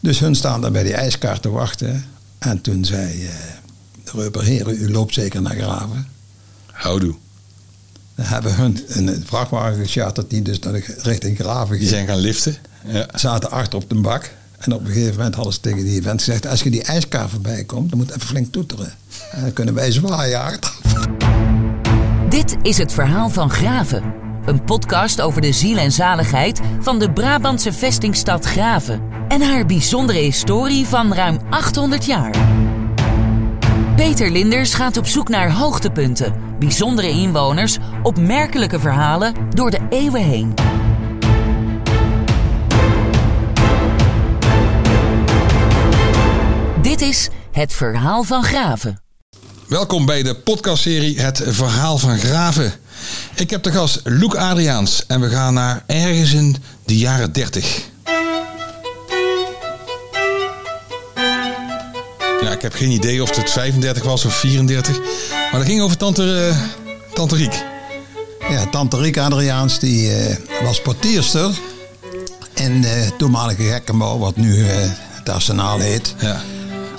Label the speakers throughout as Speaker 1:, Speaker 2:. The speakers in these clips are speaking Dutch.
Speaker 1: Dus hun staan daar bij die ijskar te wachten. En toen zei eh, de Reuber, heren, u loopt zeker naar Graven.
Speaker 2: Houdoe.
Speaker 1: Dan hebben hun een vrachtwagen gecharterd die dus naar de, richting Graven
Speaker 2: Die
Speaker 1: ging.
Speaker 2: zijn gaan liften. Ja.
Speaker 1: Zaten achter op de bak. En op een gegeven moment hadden ze tegen die vent gezegd... als je die ijskar voorbij komt, dan moet je even flink toeteren. En dan kunnen wij zwaaien achteraf.
Speaker 3: Dit is het verhaal van Graven. Een podcast over de ziel en zaligheid van de Brabantse vestingstad Graven. En haar bijzondere historie van ruim 800 jaar. Peter Linders gaat op zoek naar hoogtepunten, bijzondere inwoners, opmerkelijke verhalen door de eeuwen heen. Dit is Het Verhaal van Graven.
Speaker 2: Welkom bij de podcastserie Het Verhaal van Graven. Ik heb de gast Luc Adriaans en we gaan naar ergens in de jaren 30. Ja, ik heb geen idee of het 35 was of 34. Maar dat ging over tante, eh, tante Riek.
Speaker 1: Ja, tante Rieke Adriaans die, eh, was portierster in de toenmalige Gekkenbouw, wat nu eh, het Arsenaal heet.
Speaker 2: Ja.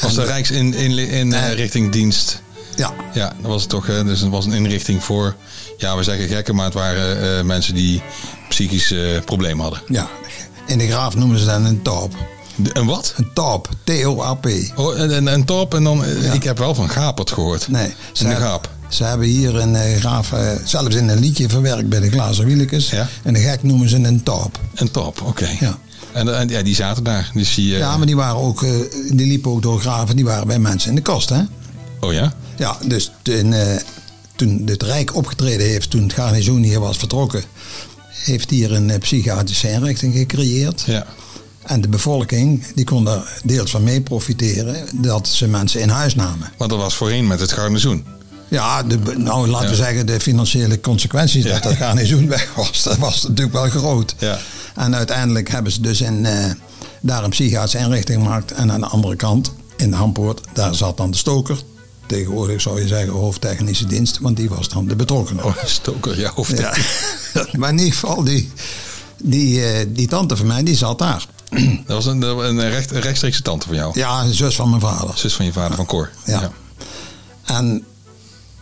Speaker 2: Als de
Speaker 1: En-
Speaker 2: eh, Rijksinrichtingdienst.
Speaker 1: Ja,
Speaker 2: ja, dat was het toch. hè? Dus het was een inrichting voor, ja, we zeggen gekken, maar het waren eh, mensen die psychische eh, problemen hadden.
Speaker 1: ja. In de graaf noemen ze dat een taub.
Speaker 2: De- een wat?
Speaker 1: Een taub, T-O-A-P.
Speaker 2: Oh, en, en, en top. En dan, Ik heb wel van Gapert gehoord.
Speaker 1: Nee,
Speaker 2: In de
Speaker 1: heb-
Speaker 2: Graaf.
Speaker 1: Ze hebben hier in de graaf eh, zelfs in een liedje verwerkt bij de glazen wielekes.
Speaker 2: Ja.
Speaker 1: En de gek noemen ze een taub.
Speaker 2: Een top, oké.
Speaker 1: Ja.
Speaker 2: En, en ja, die zaten daar. Dus die, eh,
Speaker 1: Ja, maar die, waren ook, eh, die liepen ook door graven, die waren bij mensen in de kast, hè?
Speaker 2: Oh ja?
Speaker 1: Ja, dus toen, eh, toen het Rijk opgetreden heeft, toen het garnizoen hier was vertrokken, heeft hier een eh, psychiatrische inrichting gecreëerd.
Speaker 2: Ja.
Speaker 1: En de bevolking die kon daar deels van mee profiteren dat ze mensen in huis namen.
Speaker 2: Want dat was voorheen met het garnizoen.
Speaker 1: Ja, de, be- nou laten we
Speaker 2: Ja.
Speaker 1: zeggen de financiële consequenties
Speaker 2: Ja.
Speaker 1: dat dat garnizoen weg was, dat was natuurlijk wel groot.
Speaker 2: Ja.
Speaker 1: En uiteindelijk hebben ze dus in, eh, daar een psychiatrische inrichting gemaakt. En aan de andere kant, in de Hampoort, daar zat dan de stoker. Tegenwoordig zou je zeggen hoofdtechnische dienst, want die was dan de betrokkenen.
Speaker 2: Oh, stoker, ja. Of
Speaker 1: Ja. maar in ieder geval, die, die, eh, die tante van mij, die zat daar.
Speaker 2: Dat was een, een, recht, een rechtstreekse tante van jou.
Speaker 1: Ja, een zus van mijn vader.
Speaker 2: Zus van je vader, van Cor.
Speaker 1: Ja. En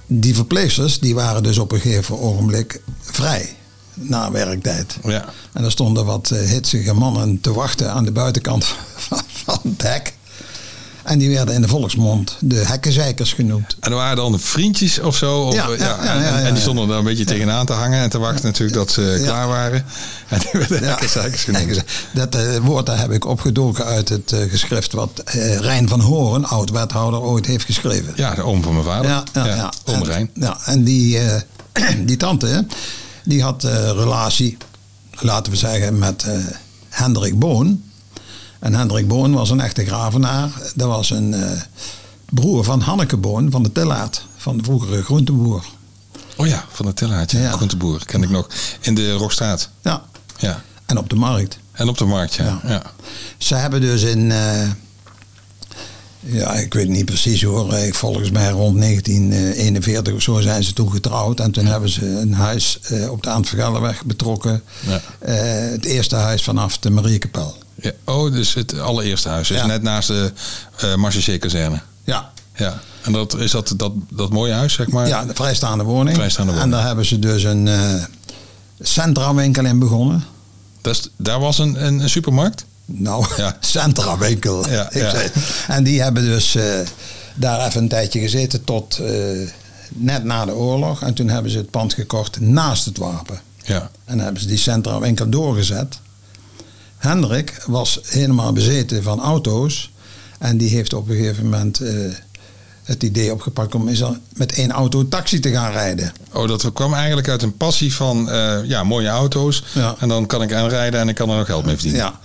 Speaker 1: die verpleegsters, die waren dus op een gegeven ogenblik vrij na werktijd.
Speaker 2: Ja.
Speaker 1: En er stonden wat eh, hitsige mannen te wachten aan de buitenkant van, van het hek. En die werden in de volksmond de hekkenzeikers genoemd.
Speaker 2: En er waren dan vriendjes of zo. Of,
Speaker 1: Ja,
Speaker 2: eh,
Speaker 1: ja, ja, ja,
Speaker 2: en, en
Speaker 1: ja,
Speaker 2: die
Speaker 1: ja.
Speaker 2: stonden daar een beetje tegenaan te hangen en te wachten natuurlijk dat ze eh, klaar waren. En die werden ja. hekkenzeikers genoemd.
Speaker 1: Dat eh, woord daar heb ik opgedoken uit het eh, geschrift wat eh, Rijn van Horen, oud-wethouder, ooit heeft geschreven.
Speaker 2: Ja, de oom van mijn vader.
Speaker 1: Ja, ja, ja.
Speaker 2: Oom
Speaker 1: En-
Speaker 2: Rijn.
Speaker 1: Ja, en die, eh, die tante, hè, die had eh, relatie, laten we zeggen, met eh, Hendrik Boon. En Hendrik Boon was een echte gravenaar. Dat was een eh, broer van Hanneke Boon van de Tillaard, van de vroegere groenteboer.
Speaker 2: Oh ja, van het Tillaartje.
Speaker 1: Ja.
Speaker 2: Groenteboer, ken ik nog. In de Rockstraat.
Speaker 1: Ja,
Speaker 2: Ja.
Speaker 1: en op de markt.
Speaker 2: En op de markt, ja. ja.
Speaker 1: Ja. Ze hebben dus in, eh, ja, ik weet niet precies hoor, eh, volgens mij rond 1941 of zo zijn ze toen getrouwd. En toen hebben ze een huis eh, op de Aantvergellenweg betrokken.
Speaker 2: Ja.
Speaker 1: Eh, het eerste huis vanaf de Mariekapel.
Speaker 2: Ja. Oh, dus het allereerste huis. Dus
Speaker 1: Ja.
Speaker 2: net naast de eh Marseillais-kazerne.
Speaker 1: Ja.
Speaker 2: Ja. En dat is dat, dat, dat mooie huis, zeg maar.
Speaker 1: Ja, de vrijstaande woning.
Speaker 2: Vrijstaande woning.
Speaker 1: En daar hebben ze dus een eh centrawinkel in begonnen.
Speaker 2: Dat is, daar was een, een, een supermarkt.
Speaker 1: Nou,
Speaker 2: Ja.
Speaker 1: centrawinkel.
Speaker 2: Ja,
Speaker 1: Ik
Speaker 2: ja.
Speaker 1: zei- En die hebben dus eh, daar even een tijdje gezeten tot eh, net na de oorlog. En toen hebben ze het pand gekocht naast het wapen.
Speaker 2: Ja.
Speaker 1: En hebben ze die centrawinkel doorgezet. Hendrik was helemaal bezeten van auto's. En die heeft op een gegeven moment eh, het idee opgepakt om eens al met één auto taxi te gaan rijden.
Speaker 2: Oh, dat kwam eigenlijk uit een passie van eh, ja, mooie auto's.
Speaker 1: Ja.
Speaker 2: En dan kan ik aanrijden en ik kan er nog geld mee verdienen.
Speaker 1: Ja.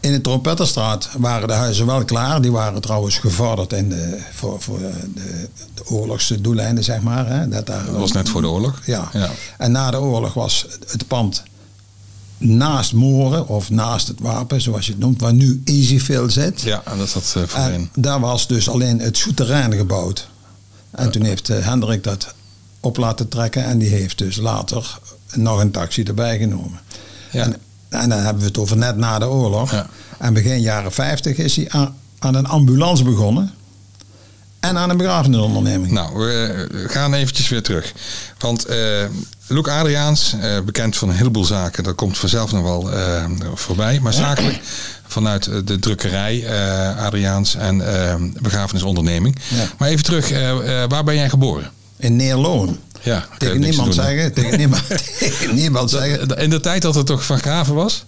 Speaker 1: In de Trompetterstraat waren de huizen wel klaar. Die waren trouwens gevorderd in de, voor, voor de, de oorlogsdoeleinden, zeg maar. Hè. Dat, daar,
Speaker 2: Dat was net voor de oorlog.
Speaker 1: ja.
Speaker 2: ja.
Speaker 1: En na de oorlog was het pand naast Moren of naast het wapen, zoals je het noemt, waar nu Easyfill zit.
Speaker 2: Ja, en dat zat eh voorheen.
Speaker 1: En daar was dus alleen het souterrain gebouwd. En toen heeft eh, Hendrik dat op laten trekken en die heeft dus later nog een taxi erbij genomen.
Speaker 2: Ja.
Speaker 1: En, en dan hebben we het over net na de oorlog.
Speaker 2: Ja.
Speaker 1: En begin jaren 50 is hij aan, aan een ambulance begonnen. En aan een begrafenisonderneming.
Speaker 2: Nou, we eh, gaan eventjes weer terug. Want eh Luc Adriaans, eh, bekend van een heleboel zaken, dat komt vanzelf nog wel eh, voorbij. Maar zakelijk vanuit eh, de drukkerij eh, Adriaans en eh, begrafenisonderneming.
Speaker 1: Ja.
Speaker 2: Maar even terug, eh, eh, waar ben jij geboren?
Speaker 1: In Neerloon.
Speaker 2: Ja, ik heb
Speaker 1: Tegen
Speaker 2: niks te
Speaker 1: niemand
Speaker 2: doen, hè. Eh,
Speaker 1: zeggen. Tegen niemand, tegen niemand zeggen.
Speaker 2: In de tijd dat het toch van Graven was?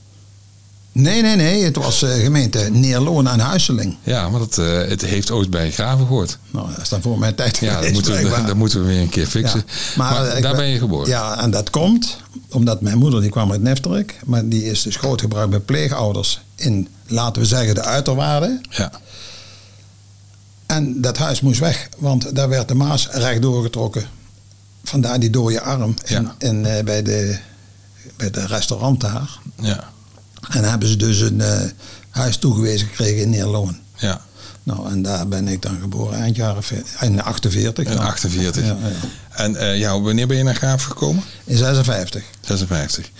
Speaker 1: Nee, nee, nee. Het was eh, gemeente Neerloon en Huiseling.
Speaker 2: Ja, maar dat, eh, het heeft ooit bij Graven gehoord.
Speaker 1: Nou, dat is dan voor mijn tijd
Speaker 2: Ja, dat
Speaker 1: geweest,
Speaker 2: moeten, we,
Speaker 1: blijkbaar.
Speaker 2: dat moeten we weer een keer fixen.
Speaker 1: Ja,
Speaker 2: Maar,
Speaker 1: eh, ik
Speaker 2: daar ben je geboren.
Speaker 1: Ja, en dat komt omdat mijn moeder die kwam uit Nefterik. Maar die is dus grootgebracht bij pleegouders in, laten we zeggen, de uiterwaarden.
Speaker 2: Ja.
Speaker 1: En dat huis moest weg, want daar werd de Maas recht doorgetrokken. Vandaar die dode arm in,
Speaker 2: Ja.
Speaker 1: in, eh, bij, de, bij de restaurant daar.
Speaker 2: Ja.
Speaker 1: En hebben ze dus een eh, huis toegewezen gekregen in Neerloon.
Speaker 2: ja.
Speaker 1: Nou, en daar ben ik dan geboren, eind jaren ve- eind 48.
Speaker 2: In
Speaker 1: ja.
Speaker 2: 48.
Speaker 1: Ja, ja.
Speaker 2: En eh, ja, wanneer ben je naar Graven gekomen?
Speaker 1: In 56.
Speaker 2: 56.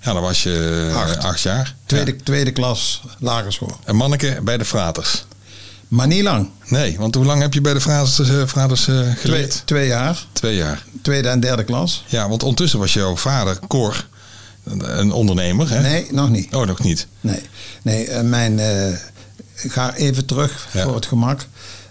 Speaker 2: Ja, dan was je eh,
Speaker 1: Acht.
Speaker 2: acht, jaar.
Speaker 1: Tweede,
Speaker 2: Ja.
Speaker 1: tweede klas lagere school.
Speaker 2: Een manneke bij de Fraters.
Speaker 1: Maar niet lang.
Speaker 2: Nee, want hoe lang heb je bij de Fraters, eh, Fraters eh,
Speaker 1: Twee,
Speaker 2: geleerd?
Speaker 1: twee jaar.
Speaker 2: Twee jaar.
Speaker 1: Tweede en derde klas.
Speaker 2: Ja, want ondertussen was jouw vader, Cor, een een ondernemer. Hè?
Speaker 1: Nee, nog niet.
Speaker 2: Oh, nog niet.
Speaker 1: Nee, nee eh, mijn, eh, ik ga even terug
Speaker 2: Ja.
Speaker 1: voor het gemak.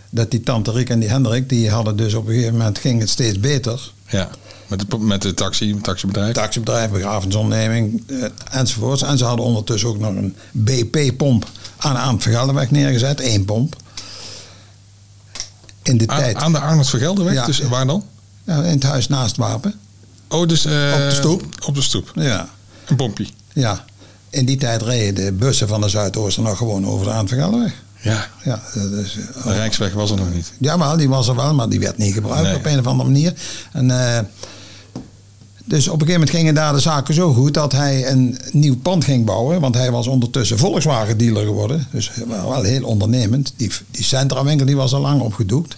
Speaker 1: Dat die tante Riek en die Hendrik, die hadden dus op een gegeven moment ging het steeds beter.
Speaker 2: Ja. Met de, met de taxi, taxibedrijf.
Speaker 1: Taxibedrijf, begrafenisonderneming eh, enzovoorts. En ze hadden ondertussen ook nog een BP-pomp aan, aan het Vergelderweg neergezet. één pomp. In de
Speaker 2: aan,
Speaker 1: tijd.
Speaker 2: aan de Arnold Vergelderweg,
Speaker 1: Ja.
Speaker 2: dus waar dan?
Speaker 1: Ja, in het huis naast het Wapen.
Speaker 2: Oh, dus... eh,
Speaker 1: Op de stoep.
Speaker 2: Op de stoep.
Speaker 1: Ja.
Speaker 2: Een pompje.
Speaker 1: ja. In die tijd reden de bussen van de Zuidoosten nog gewoon over de Aan het Vergelderweg.
Speaker 2: Ja,
Speaker 1: Ja, dat is, eh,
Speaker 2: de Rijksweg was er nog niet.
Speaker 1: Jawel, die was er wel, maar die werd niet gebruikt
Speaker 2: Nee.
Speaker 1: op een of andere manier. En, eh, dus op een gegeven moment gingen daar de zaken zo goed dat hij een nieuw pand ging bouwen. Want hij was ondertussen Volkswagen dealer geworden. Dus wel, wel heel ondernemend. Die, die centrawinkel die was al lang opgedoekt.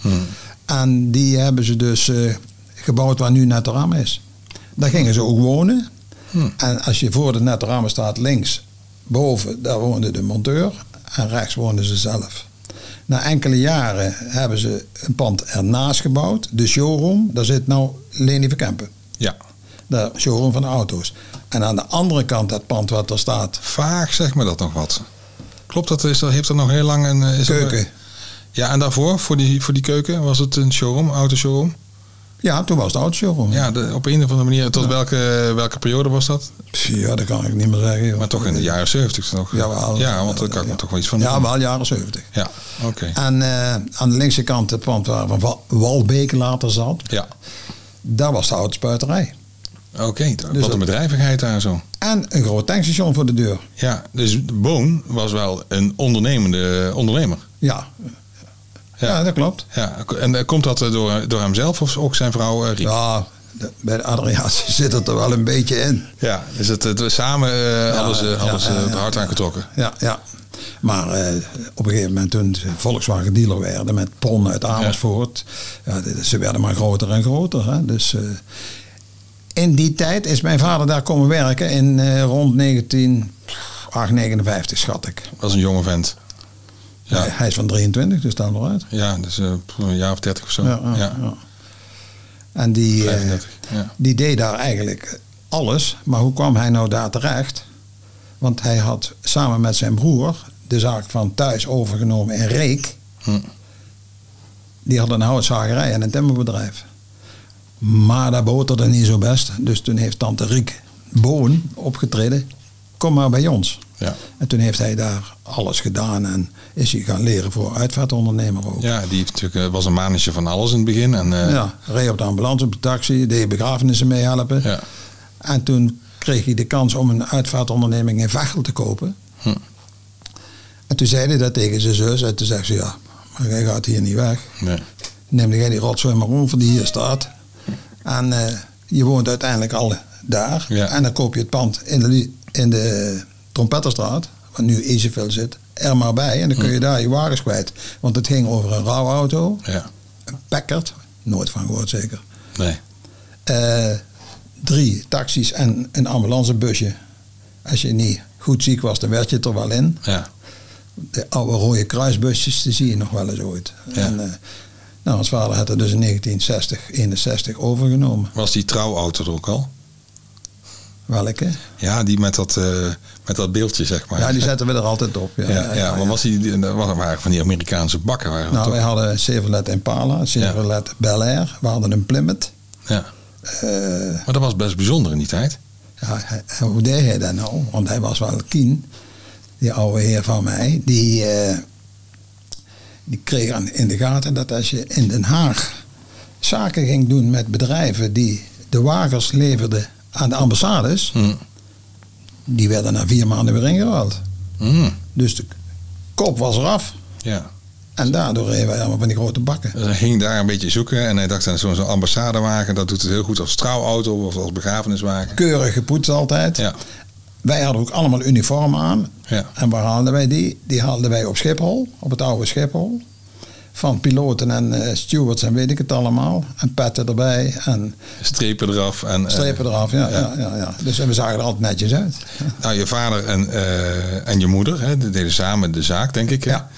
Speaker 1: En die hebben ze dus eh, gebouwd waar nu Netteram is. Daar gingen ze ook wonen. En als je voor de Netteram staat, links boven, daar woonde de monteur. En rechts woonden ze zelf. Na enkele jaren hebben ze een pand ernaast gebouwd. De showroom, daar zit nou Leni Verkempen.
Speaker 2: Ja.
Speaker 1: De showroom van de auto's. En aan de andere kant dat pand wat er staat,
Speaker 2: Vaak zegt me dat nog wat. Klopt dat? Is, dat heeft er nog heel lang een... eh, Is er-
Speaker 1: keuken.
Speaker 2: ja, en daarvoor, voor die, voor die keuken, was het een showroom, auto showroom?
Speaker 1: Ja, toen was het auto showroom.
Speaker 2: Ja, de- op een of andere manier. Tot welke, welke periode was dat?
Speaker 1: Pff, ja, dat kan ik niet meer zeggen. joh.
Speaker 2: Maar toch in de jaren zeventig nog.
Speaker 1: Jawel.
Speaker 2: ja, want daar kan ik me toch wel iets van
Speaker 1: Ja, wel jaren 70.
Speaker 2: Ja, oké.
Speaker 1: En eh, aan de linkse kant het pand waar Van Wa- Walbeek later zat,
Speaker 2: Ja,
Speaker 1: daar was de autospuiterij.
Speaker 2: oké. Wat
Speaker 1: Dus
Speaker 2: een
Speaker 1: dat-
Speaker 2: bedrijvigheid daar zo.
Speaker 1: En een groot tankstation voor de deur.
Speaker 2: Ja, dus Boon was wel een ondernemende ondernemer.
Speaker 1: Ja, ja. dat klopt.
Speaker 2: Ja, en eh, komt dat eh, door, door hemzelf of ook zijn vrouw eh, Riet?
Speaker 1: Ja, de- bij de Adriaatse zit het er wel een beetje in.
Speaker 2: Ja, dus het, het, we samen eh hadden ze,
Speaker 1: ja,
Speaker 2: hadden ze
Speaker 1: ja,
Speaker 2: het
Speaker 1: ja,
Speaker 2: hard
Speaker 1: ja.
Speaker 2: aangetrokken.
Speaker 1: Ja, ja. Maar eh, op een gegeven moment toen ze Volkswagen dealer werden met Pon uit Amersfoort. Ja. dit- ze werden maar groter en groter. Hè? Dus eh, in die tijd is mijn vader daar komen werken in eh, rond 1959 schat ik.
Speaker 2: Dat was een jonge vent. Ja.
Speaker 1: Hij, hij is van 23, dus daar nog uit.
Speaker 2: Ja, dus eh, een jaar of dertig of zo.
Speaker 1: Ja,
Speaker 2: Ja,
Speaker 1: ja, ja. En die, eh,
Speaker 2: 35, ja.
Speaker 1: die deed daar eigenlijk alles. Maar hoe kwam hij nou daar terecht? Want hij had samen met zijn broer de zaak van thuis overgenomen in Reek.
Speaker 2: Hm.
Speaker 1: Die had een houtzagerij en een timmerbedrijf. Maar dat boterde niet zo best. Dus toen heeft tante Riek Boon opgetreden. Kom maar bij ons.
Speaker 2: Ja.
Speaker 1: En toen heeft hij daar alles gedaan. En is hij gaan leren voor uitvaartondernemer ook.
Speaker 2: Ja, die heeft natuurlijk, eh, was een mannetje van alles in het begin. En, eh, ja.
Speaker 1: Ja, reed op de ambulance, op de taxi, deed begrafenissen meehelpen.
Speaker 2: Ja.
Speaker 1: En toen kreeg hij de kans om een uitvaartonderneming in Vechel te kopen.
Speaker 2: Hm.
Speaker 1: En toen zei hij dat tegen zijn zus. En toen zei ze, ja, maar jij gaat hier niet weg.
Speaker 2: Nee.
Speaker 1: Neem jij die rotzooi maar over die hier staat. En eh, je woont uiteindelijk al daar.
Speaker 2: Ja.
Speaker 1: En dan koop je het pand in de, Li- in de Trompetterstraat, waar nu Ezevel zit, er maar bij. En dan
Speaker 2: Mm.
Speaker 1: kun je daar je wagens kwijt. Want het ging over een rouwauto,
Speaker 2: Ja.
Speaker 1: een Packard, nooit van gehoord zeker.
Speaker 2: Nee.
Speaker 1: Eh, drie taxis en een ambulancebusje. Als je niet goed ziek was, dan werd je het er wel in.
Speaker 2: Ja.
Speaker 1: de oude rode kruisbusjes, die zie je nog wel eens ooit.
Speaker 2: Ja.
Speaker 1: En, eh, nou, ons vader had dat dus in 1960, 61 overgenomen.
Speaker 2: Was die trouwauto er ook al?
Speaker 1: Welke?
Speaker 2: Ja, die met dat, eh, met dat beeldje, zeg maar.
Speaker 1: Ja, die zetten we er altijd op. Ja,
Speaker 2: Ja, ja, maar was die, die- dat waren- waren van die Amerikaanse bakken. Waren
Speaker 1: Nou,
Speaker 2: dat
Speaker 1: wij hadden een Chevrolet Impala, een Chevrolet Bel Air, we hadden een Plymouth.
Speaker 2: toch? ja.
Speaker 1: Eh,
Speaker 2: Maar dat was best bijzonder in die tijd.
Speaker 1: ja, hij- hoe deed hij dat nou? Want hij was wel kien, die oude heer van mij. Die, eh, die kreeg aan- in de gaten dat als je in Den Haag zaken ging doen met bedrijven die de wagens leverden aan de ambassades,
Speaker 2: Hm.
Speaker 1: die werden na vier maanden weer ingehaald.
Speaker 2: Hm.
Speaker 1: Dus de kop was eraf.
Speaker 2: Ja,
Speaker 1: En daardoor reden wij allemaal van die grote bakken.
Speaker 2: dus hij ging daar een beetje zoeken en hij dacht aan zo'n zo'n ambassadewagen, dat doet het heel goed als trouwauto of als begrafeniswagen.
Speaker 1: Keurig gepoetst altijd.
Speaker 2: Ja,
Speaker 1: Wij hadden ook allemaal uniformen aan.
Speaker 2: ja.
Speaker 1: En waar haalden wij die? Die haalden wij op Schiphol, op het oude Schiphol. Van piloten en eh, stewards en weet ik het allemaal. En petten erbij en
Speaker 2: Strepen eraf en... eh,
Speaker 1: strepen eraf. Ja,
Speaker 2: ja.
Speaker 1: ja. Ja, ja. Dus we zagen er altijd netjes uit.
Speaker 2: Nou, je vader en, eh, en je moeder hè, die deden samen de zaak, denk ik. Hè?
Speaker 1: Ja.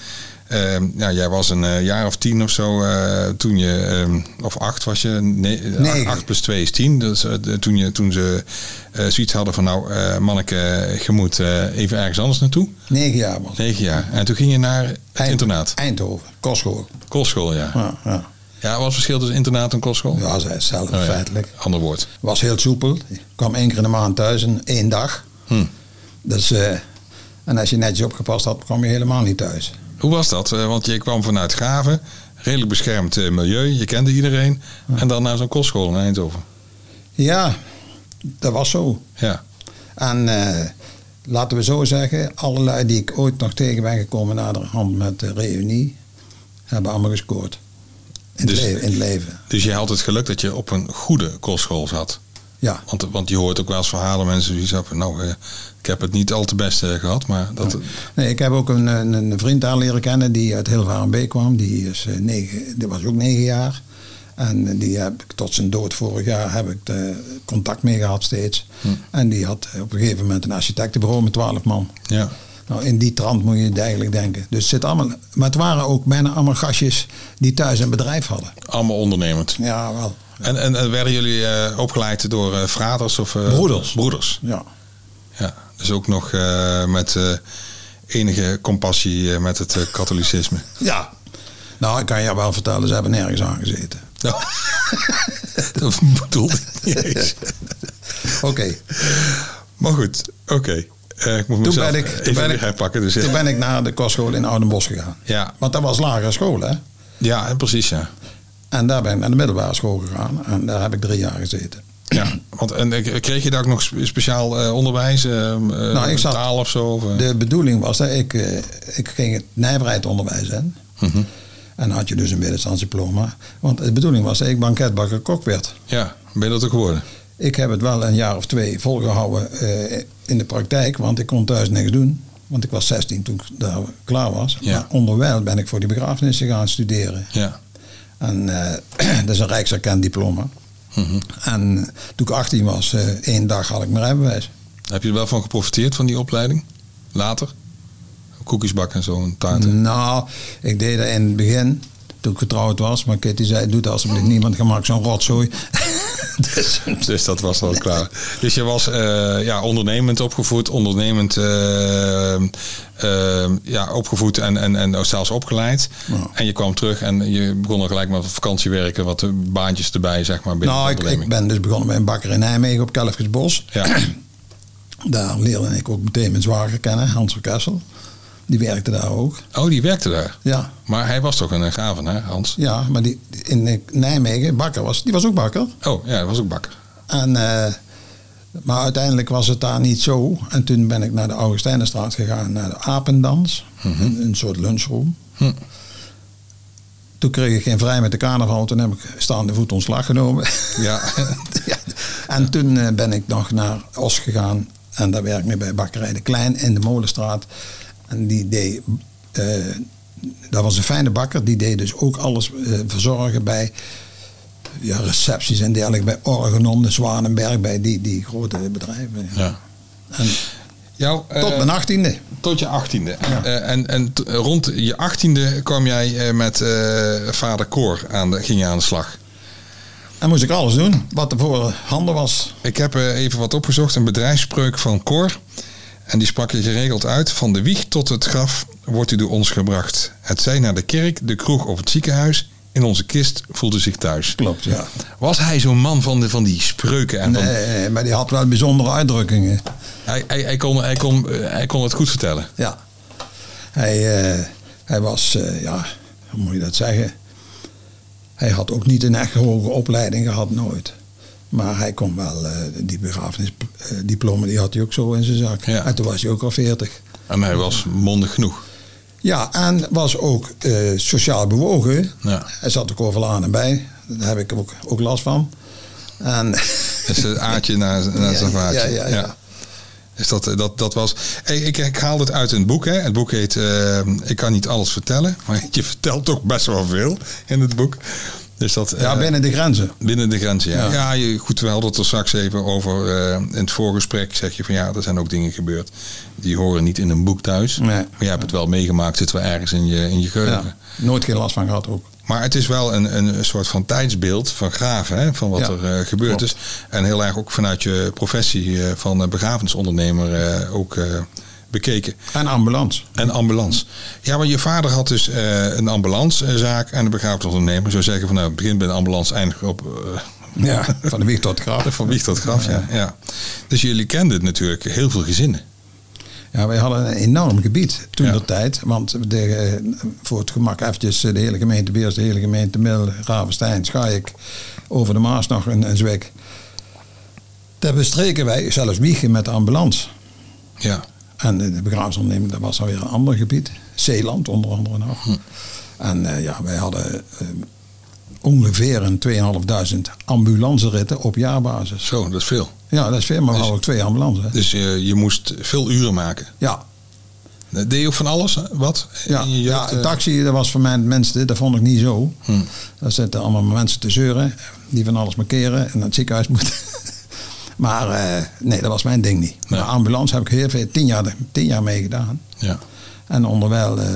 Speaker 2: Ehm, ja, jij was een eh, jaar of tien of zo eh, toen je, ehm, of acht was je, nee, eh,
Speaker 1: Negen.
Speaker 2: acht plus twee is tien. Dus, eh, de- toen, je, toen ze eh, zoiets hadden van nou eh manneke, je moet eh, even ergens anders naartoe.
Speaker 1: Negen jaar was ik.
Speaker 2: Negen jaar. En toen ging je naar het
Speaker 1: Eind-
Speaker 2: internaat.
Speaker 1: Eindhoven, kostschool.
Speaker 2: Kostschool, ja.
Speaker 1: Ja, ja.
Speaker 2: Ja, wat was het verschil tussen internaat en kostschool?
Speaker 1: ja, zei het zelf
Speaker 2: Oh, ja.
Speaker 1: feitelijk.
Speaker 2: Ander woord.
Speaker 1: Was heel soepel. Ik kwam één keer in de maand thuis en één dag.
Speaker 2: Hm.
Speaker 1: Dus, eh, en als je netjes opgepast had, kwam je helemaal niet thuis.
Speaker 2: Hoe was dat? Eh, want je kwam vanuit Graven, redelijk beschermd eh, milieu, je kende iedereen. En dan naar zo'n kostschool in Eindhoven.
Speaker 1: Ja, dat was zo.
Speaker 2: Ja.
Speaker 1: En eh, laten we zo zeggen, allerlei die ik ooit nog tegen ben gekomen na de hand met de reunie, hebben allemaal gescoord. In,
Speaker 2: Dus-
Speaker 1: het, leven, in het leven.
Speaker 2: Dus je had het geluk dat je op een goede kostschool zat.
Speaker 1: Ja.
Speaker 2: Want, want je hoort ook wel eens verhalen mensen die zeggen, nou, eh, ik heb het niet al te best eh, gehad, maar dat...
Speaker 1: Nee, ik heb ook een, een, een vriend daar leren kennen die uit Hilvarenbeek kwam. Die, is, eh, negen, die was ook negen jaar. En eh, die heb ik tot zijn dood vorig jaar heb ik eh, contact mee gehad steeds.
Speaker 2: Hm.
Speaker 1: En die had op een gegeven moment een architectenbureau met twaalf man.
Speaker 2: Ja.
Speaker 1: Nou, in die trant moet je het eigenlijk denken. Dus het zit allemaal, maar het waren ook bijna allemaal gastjes die thuis een bedrijf hadden.
Speaker 2: Allemaal ondernemend.
Speaker 1: Ja, wel.
Speaker 2: En, en, eh, werden jullie eh, opgeleid door eh vaders of... eh,
Speaker 1: Broeders.
Speaker 2: Broeders.
Speaker 1: Ja.
Speaker 2: Ja, dus ook nog eh, met eh, enige compassie eh, met het eh, katholicisme.
Speaker 1: ja. Nou, ik kan je wel vertellen, ze hebben nergens aangezeten.
Speaker 2: Nou, dat bedoelde ik niet eens.
Speaker 1: Oké,
Speaker 2: Maar goed, oké. Eh, ik moet mezelf
Speaker 1: ben ik-
Speaker 2: even
Speaker 1: toen ben
Speaker 2: weer
Speaker 1: ik-
Speaker 2: herpakken. Dus, eh,
Speaker 1: toen ben ik naar de kostschool in Oudenbosch gegaan.
Speaker 2: ja,
Speaker 1: Want dat was lagere school, hè.
Speaker 2: ja, en precies ja.
Speaker 1: En daar ben ik naar de middelbare school gegaan. En daar heb ik drie jaar gezeten.
Speaker 2: ja want, en eh, kreeg je daar ook nog spe- speciaal eh, onderwijs? eh, eh,
Speaker 1: Nou, ik zat-
Speaker 2: taal of zo? Of, eh?
Speaker 1: De bedoeling was dat ik, eh, ik ging het nijverheidsonderwijs in.
Speaker 2: Mhm.
Speaker 1: En dan had je dus een middenstandsdiploma. Want de bedoeling was dat ik banketbakker kok werd.
Speaker 2: Ja, ben je dat ook geworden?
Speaker 1: Ik heb het wel een jaar of twee volgehouden eh, in de praktijk, want ik kon thuis niks doen. Want ik was 16 toen ik daar klaar was.
Speaker 2: Ja.
Speaker 1: Maar onderwijl ben ik voor die begrafenissen gaan studeren.
Speaker 2: Ja.
Speaker 1: En eh, dat is een rijkserkend diploma.
Speaker 2: Mhm.
Speaker 1: En toen ik 18 was, eh, één dag had ik mijn rijbewijs.
Speaker 2: Heb je er wel van geprofiteerd van die opleiding? Later? Koekjes bakken en zo en taarten?
Speaker 1: Nou, ik deed dat in het begin, toen ik getrouwd was. Maar Kitty zei, doe dat alsjeblieft niemand, gemaakt zo'n rotzooi. dus,
Speaker 2: Dus dat was al klaar. Dus je was eh, ja, ondernemend opgevoed, ondernemend eh, eh, ja, opgevoed en, en, en ook zelfs opgeleid.
Speaker 1: Ja.
Speaker 2: En je kwam terug en je begon al gelijk met vakantiewerken, wat eh, baantjes erbij, zeg maar, binnen
Speaker 1: nou,
Speaker 2: de
Speaker 1: ik, ik
Speaker 2: onderneming.
Speaker 1: ben dus begonnen bij een bakker in Nijmegen op Kelfjesbos.
Speaker 2: Ja,
Speaker 1: Daar leerde ik ook meteen mijn zwager kennen, Hans van Kessel. Die werkte daar ook.
Speaker 2: oh, die werkte daar.
Speaker 1: Ja,
Speaker 2: Maar hij was toch een eh, gravenaar, Hans?
Speaker 1: ja maar die in eh, Nijmegen, bakker was, die was ook bakker.
Speaker 2: Oh, ja, hij was ook bakker.
Speaker 1: En, eh, maar uiteindelijk was het daar niet zo. En toen ben ik naar de Augustijnenstraat gegaan, naar de Apendans. een, een soort lunchroom.
Speaker 2: Hm.
Speaker 1: Toen kreeg ik geen vrij met de carnaval. Toen heb ik staande voet ontslag genomen.
Speaker 2: Ja.
Speaker 1: Ja. En toen eh, ben ik nog naar Os gegaan. En daar werk ik bij Bakkerij de Klein in de Molenstraat. En die deed... eh, dat was een fijne bakker. Die deed dus ook alles eh, verzorgen bij ja, recepties en dergelijke. Bij Organon, de Zwanenberg, bij die, die grote bedrijven.
Speaker 2: Ja.
Speaker 1: En,
Speaker 2: Jouw, eh,
Speaker 1: Tot mijn achttiende.
Speaker 2: tot je achttiende. Eh, en en t- rond je achttiende kwam jij eh, met eh, vader Koor aan de, ging je aan de slag.
Speaker 1: En moest ik alles doen wat er voor handen was.
Speaker 2: Ik heb eh, even wat opgezocht, een bedrijfsspreuk van Cor. En die sprak je geregeld uit. Van de wieg tot het graf wordt u door ons gebracht. Het zij naar de kerk, de kroeg of het ziekenhuis. In onze kist voelt u zich thuis.
Speaker 1: Klopt, ja.
Speaker 2: Was hij zo'n man van, de, van die spreuken? En van,
Speaker 1: Nee, maar die had wel bijzondere uitdrukkingen.
Speaker 2: hij, hij, hij, kon, hij, kon, eh, hij kon het goed vertellen.
Speaker 1: Ja. Hij, eh, hij was, eh, ja, hoe moet je dat zeggen? Hij had ook niet een echt hoge opleiding gehad, nooit. Maar hij kon wel, eh, die begrafenisdiploma, die had hij ook zo in zijn zak.
Speaker 2: Ja.
Speaker 1: En toen was hij ook al 40.
Speaker 2: En hij was mondig genoeg.
Speaker 1: Ja, en was ook eh, sociaal bewogen.
Speaker 2: Ja.
Speaker 1: Hij zat ook overal aan en bij. Daar heb ik ook, ook last van. En,
Speaker 2: Dus het aardje naar, naar zijn vaartje.
Speaker 1: Ja, ja, ja.
Speaker 2: Dus dat, dat, dat was. Hey, ik, ik haal dit uit een boek. Hè. Het boek heet eh, Ik kan niet alles vertellen. Maar je vertelt toch best wel veel in het boek. Dus dat,
Speaker 1: ja,
Speaker 2: eh,
Speaker 1: binnen de grenzen.
Speaker 2: binnen de grenzen. Ja,
Speaker 1: Ja.
Speaker 2: ja. je, goed, we hadden het er straks even over. eh, in het voorgesprek zeg je van ja, er zijn ook dingen gebeurd. Die horen niet in een boek thuis.
Speaker 1: Nee.
Speaker 2: Maar jij hebt het wel meegemaakt. Zit wel ergens in je, in je geheugen.
Speaker 1: Ja. Nooit geen last van gehad ook.
Speaker 2: Maar het is wel een, een soort van tijdsbeeld van graven, hè, van wat
Speaker 1: Ja,
Speaker 2: er eh, gebeurd
Speaker 1: klopt.
Speaker 2: is. En heel erg ook vanuit je professie eh, van eh, begrafenisondernemer eh, ook eh, bekeken.
Speaker 1: En ambulance.
Speaker 2: En ambulance. Ja, maar je vader had dus eh, een ambulancezaak en een begrafenisondernemer. Zo zeggen van nou, het begint bij de ambulance, eindig op eh,
Speaker 1: Ja, van de wieg tot de graf.
Speaker 2: van wieg tot graf. Ja. Ja. Dus jullie kenden natuurlijk heel veel gezinnen.
Speaker 1: Ja, wij hadden een enorm gebied toen
Speaker 2: Ja.
Speaker 1: de tijd. Want de, eh, voor het gemak eventjes eh, de hele gemeente Beers, de hele gemeente Mil, Ravenstein, Schaik, over de Maas nog een, een zwik. Daar bestreken wij zelfs Wiegen met de ambulance.
Speaker 2: Ja.
Speaker 1: En eh, de, de begraafsonderneming, dat was dan weer een ander gebied. Zeeland onder andere nog.
Speaker 2: Hm.
Speaker 1: En eh, ja, wij hadden eh, ongeveer een 2500 ambulanceritten op jaarbasis.
Speaker 2: Zo, dat is veel.
Speaker 1: Ja, dat is veel, maar we
Speaker 2: Dus-
Speaker 1: hadden ook twee ambulances. hè.
Speaker 2: Dus eh, je moest veel uren maken.
Speaker 1: Ja,
Speaker 2: Deed je ook van alles? eh, Wat?
Speaker 1: Ja,
Speaker 2: In je
Speaker 1: ja
Speaker 2: jeugd, eh?
Speaker 1: taxi, dat was voor mij het minste. Dat vond ik niet zo.
Speaker 2: Hmm.
Speaker 1: Daar zitten allemaal mensen te zeuren. Die van alles markeren en naar het ziekenhuis moeten. maar eh, nee, dat was mijn ding niet.
Speaker 2: Nee.
Speaker 1: Maar ambulance heb ik heel veel, tien jaar, tien jaar mee gedaan.
Speaker 2: ja.
Speaker 1: En onderwijl eh,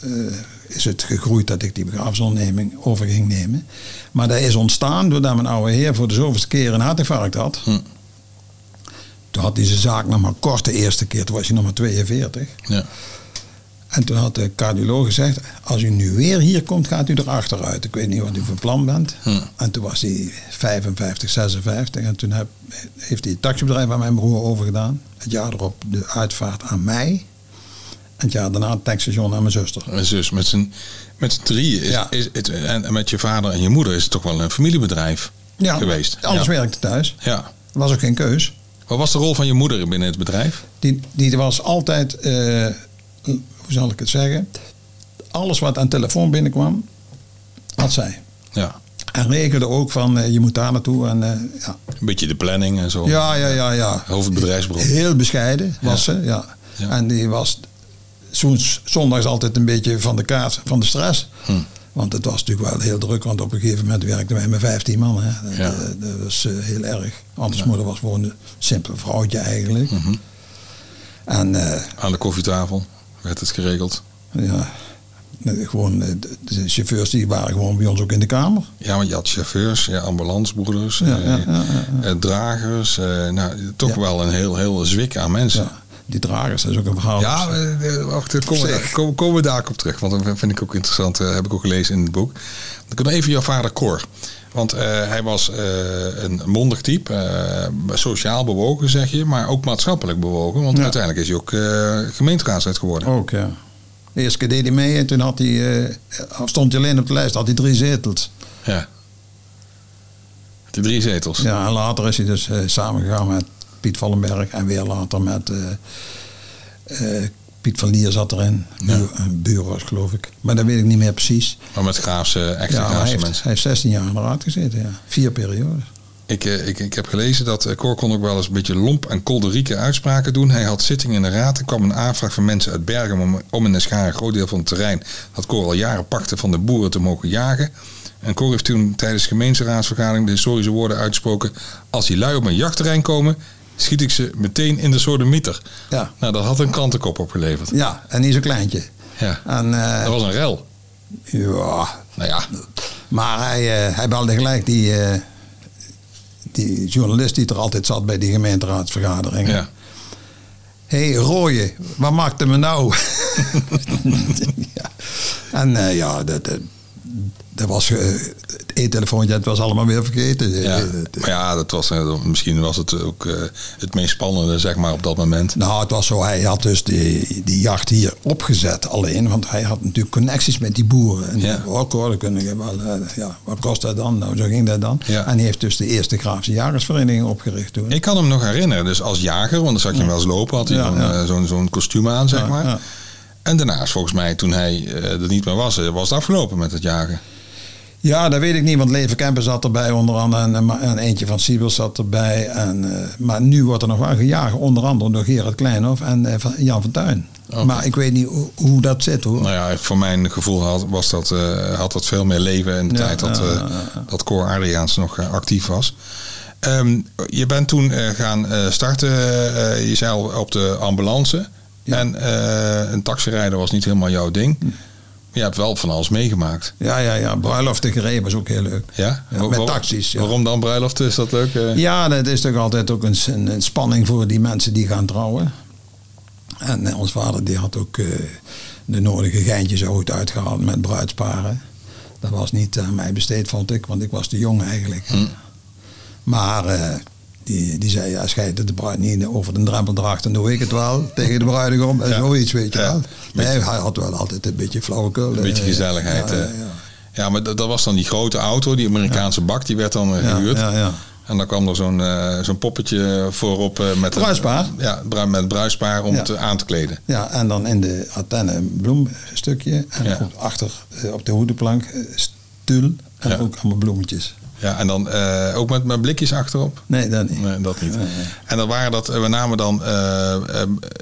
Speaker 1: eh, is het gegroeid dat ik die begrafenisonderneming over ging nemen. Maar dat is ontstaan doordat mijn oude heer voor de zoveelste keer een hartinfarct had.
Speaker 2: Hm.
Speaker 1: Toen had hij zijn zaak nog maar kort de eerste keer. Toen was hij nog maar 42.
Speaker 2: Ja.
Speaker 1: En toen had de cardioloog gezegd, als u nu weer hier komt, gaat u erachteruit. Ik weet niet wat u van plan bent.
Speaker 2: Hmm.
Speaker 1: En toen was hij 55, 56. En toen heb, heeft hij het taxibedrijf aan mijn broer overgedaan. Het jaar erop de uitvaart aan mij. En het jaar daarna het tankstation aan mijn zuster.
Speaker 2: Mijn zus, met z'n, met z'n drieën. Is,
Speaker 1: Ja.
Speaker 2: is, het, en en met je vader en je moeder is het toch wel een familiebedrijf
Speaker 1: Ja,
Speaker 2: geweest.
Speaker 1: Anders
Speaker 2: ja.
Speaker 1: werkte thuis.
Speaker 2: ja.
Speaker 1: Was ook geen keus.
Speaker 2: Wat was de rol van je moeder binnen het bedrijf?
Speaker 1: Die, die was altijd, eh, hoe zal ik het zeggen? Alles wat aan telefoon binnenkwam, had zij.
Speaker 2: Ja.
Speaker 1: En regelde ook van, eh, je moet daar naartoe. En, eh, ja.
Speaker 2: Een beetje de planning en zo.
Speaker 1: Ja, ja, ja, ja.
Speaker 2: Hoofdbedrijfsbron.
Speaker 1: Heel bescheiden was ze, ja.
Speaker 2: Ja.
Speaker 1: En die was soms, zondags altijd een beetje van de kaart, van de stress.
Speaker 2: Hm.
Speaker 1: Want het was natuurlijk wel heel druk, want op een gegeven moment werkten wij met 15 man. Hè. Dat,
Speaker 2: Ja.
Speaker 1: eh, dat was eh, heel erg. Anders moeder was gewoon een simpel vrouwtje eigenlijk.
Speaker 2: Mhm.
Speaker 1: En eh,
Speaker 2: Aan de koffietafel werd het geregeld.
Speaker 1: ja, gewoon, eh, de- de chauffeurs die waren gewoon bij ons ook in de kamer.
Speaker 2: Ja, want je had chauffeurs, ja, ambulancebroeders,
Speaker 1: Ja,
Speaker 2: eh,
Speaker 1: ja, ja, ja, ja.
Speaker 2: eh, dragers. eh, nou, toch
Speaker 1: Ja.
Speaker 2: wel een heel, heel zwik aan mensen.
Speaker 1: Ja, die dragers, dat is ook een verhaal.
Speaker 2: Ja, eh, eh, wacht, eh, komen we, daar-
Speaker 1: Zeg.
Speaker 2: komen, komen we daar ook op terug. Want dat vind ik ook interessant. eh, heb ik ook gelezen in het boek. Dan kunnen we even jouw vader Cor. Want eh, hij was eh, een mondig type. eh, sociaal bewogen, zeg je. Maar ook maatschappelijk bewogen. Want
Speaker 1: Ja.
Speaker 2: uiteindelijk is hij ook eh gemeenteraadslid geworden.
Speaker 1: Ook, ja. De eerste keer deed hij mee en toen had hij, eh, stond hij alleen op de lijst, had hij drie zetels.
Speaker 2: Ja. De drie zetels.
Speaker 1: Oh. Ja, en later is hij dus eh, samengegaan met Piet Vallenberg en weer later met eh, eh, Piet van Lier zat erin.
Speaker 2: Ja.
Speaker 1: Bu- Een buur was geloof ik. Maar dat weet ik niet meer precies.
Speaker 2: Maar met graafse, echte
Speaker 1: Ja, maar hij
Speaker 2: graafse
Speaker 1: heeft,
Speaker 2: mensen.
Speaker 1: hij heeft 16 jaar in de raad gezeten, ja. Vier periodes.
Speaker 2: Ik, eh, ik, ik heb gelezen dat eh, Cor kon ook wel eens een beetje lomp en kolderieke uitspraken doen. Hij had zittingen in de raad. Er kwam een aanvraag van mensen uit Bergen om, om in Neschaar een groot deel van het terrein. dat Cor al jaren pakte van de boeren te mogen jagen. En Cor heeft toen tijdens de gemeenteraadsvergadering de historische woorden uitgesproken. Als die lui op mijn jachtterrein komen, schiet ik ze meteen in de sodemieter.
Speaker 1: Ja.
Speaker 2: Nou, dat had een krantenkop opgeleverd.
Speaker 1: Ja, en niet zo'n kleintje.
Speaker 2: Ja.
Speaker 1: En, eh,
Speaker 2: Dat was een rel.
Speaker 1: ja,
Speaker 2: Nou ja,
Speaker 1: maar hij, eh, hij belde gelijk die, eh, die journalist die er altijd zat bij die gemeenteraadsvergaderingen.
Speaker 2: ja.
Speaker 1: Hé, hey, rooie, wat maakte me nou? ja. En eh, ja, dat, dat, dat was eh, het e-telefoontje, het was allemaal weer vergeten.
Speaker 2: ja.
Speaker 1: Eh, het-
Speaker 2: Maar ja, dat was, eh, misschien was het ook eh, het meest spannende, zeg maar, op dat moment.
Speaker 1: Nou, het was zo, hij had dus die, die jacht hier opgezet alleen, want hij had natuurlijk connecties met die boeren. En
Speaker 2: Ja.
Speaker 1: die ook hoor, kunnen, we wel, eh, ja, wat kost dat dan? Nou, zo ging dat dan.
Speaker 2: Ja.
Speaker 1: En hij heeft dus de eerste Graafse Jagersvereniging opgericht toen.
Speaker 2: Ik kan hem nog herinneren, dus als jager, want dan zag je hem wel eens lopen, had hij
Speaker 1: Ja,
Speaker 2: zo'n,
Speaker 1: ja.
Speaker 2: eh, zo'n, zo'n kostuum aan, zeg
Speaker 1: Ja,
Speaker 2: maar.
Speaker 1: ja.
Speaker 2: En daarnaast, volgens mij, toen hij eh, er niet meer was, eh, was het afgelopen met het jagen.
Speaker 1: Ja, dat weet ik niet, want Leven Kempen zat erbij onder andere en, eh, maar- en eentje van Siebel zat erbij. En, eh, maar nu wordt er nog wel gejaagd, onder andere door Gerard Kleinhof en eh, van- Jan van Tuin.
Speaker 2: Oké.
Speaker 1: Maar ik weet niet hoe, hoe dat zit hoor.
Speaker 2: Nou ja, voor mijn gevoel had, was dat, eh, had dat veel meer leven in de
Speaker 1: Ja,
Speaker 2: tijd dat,
Speaker 1: ja,
Speaker 2: eh,
Speaker 1: ja, ja.
Speaker 2: dat Cor Adriaans nog eh, actief was. Ehm, je bent toen eh, gaan eh, starten, eh, je zei al, op de ambulance.
Speaker 1: Ja. Hm.
Speaker 2: En eh, een taxirijder was niet helemaal jouw ding. Je hebt wel van alles meegemaakt.
Speaker 1: Ja, ja, ja. Bruiloften gereden was ook heel leuk.
Speaker 2: Ja?
Speaker 1: Ja,
Speaker 2: Wa-
Speaker 1: met
Speaker 2: wa-
Speaker 1: taxis, ja.
Speaker 2: Waarom dan bruiloft? Is dat leuk? eh?
Speaker 1: Ja, dat is toch altijd ook een, een, een spanning voor die mensen die gaan trouwen. En eh, ons vader die had ook eh, de nodige geintjes ook goed uitgehaald met bruidsparen. Dat was niet aan mij besteed, vond ik, want ik was te jong eigenlijk.
Speaker 2: Hm.
Speaker 1: Maar eh, die, die zei, ja, als jij de bruid niet over de drempel draagt, dan doe ik het wel tegen de bruidegom. En
Speaker 2: Ja.
Speaker 1: zoiets, weet je
Speaker 2: Ja.
Speaker 1: wel. Nee, hij had wel altijd een beetje flauwekul.
Speaker 2: Een beetje
Speaker 1: Eh,
Speaker 2: gezelligheid,
Speaker 1: ja,
Speaker 2: eh.
Speaker 1: ja, ja.
Speaker 2: Ja, maar dat, dat was dan die grote auto, die Amerikaanse bak, die werd dan eh,
Speaker 1: Ja,
Speaker 2: gehuurd.
Speaker 1: ja, ja.
Speaker 2: En dan kwam er zo'n eh, zo'n poppetje voorop eh, met een-
Speaker 1: Bruispaar.
Speaker 2: ja, bru- met bruispaar om
Speaker 1: Ja.
Speaker 2: te, aan te kleden.
Speaker 1: Ja, en dan in de antenne een bloemstukje. En
Speaker 2: Ja.
Speaker 1: op- achter eh, op de hoedenplank eh, stul. En
Speaker 2: Ja.
Speaker 1: ook allemaal bloemetjes.
Speaker 2: Ja, en dan eh, ook met, met blikjes achterop.
Speaker 1: Nee, dat niet.
Speaker 2: Nee, dat niet.
Speaker 1: Nee, nee.
Speaker 2: En dan waren dat, eh, we namen dan eh, eh,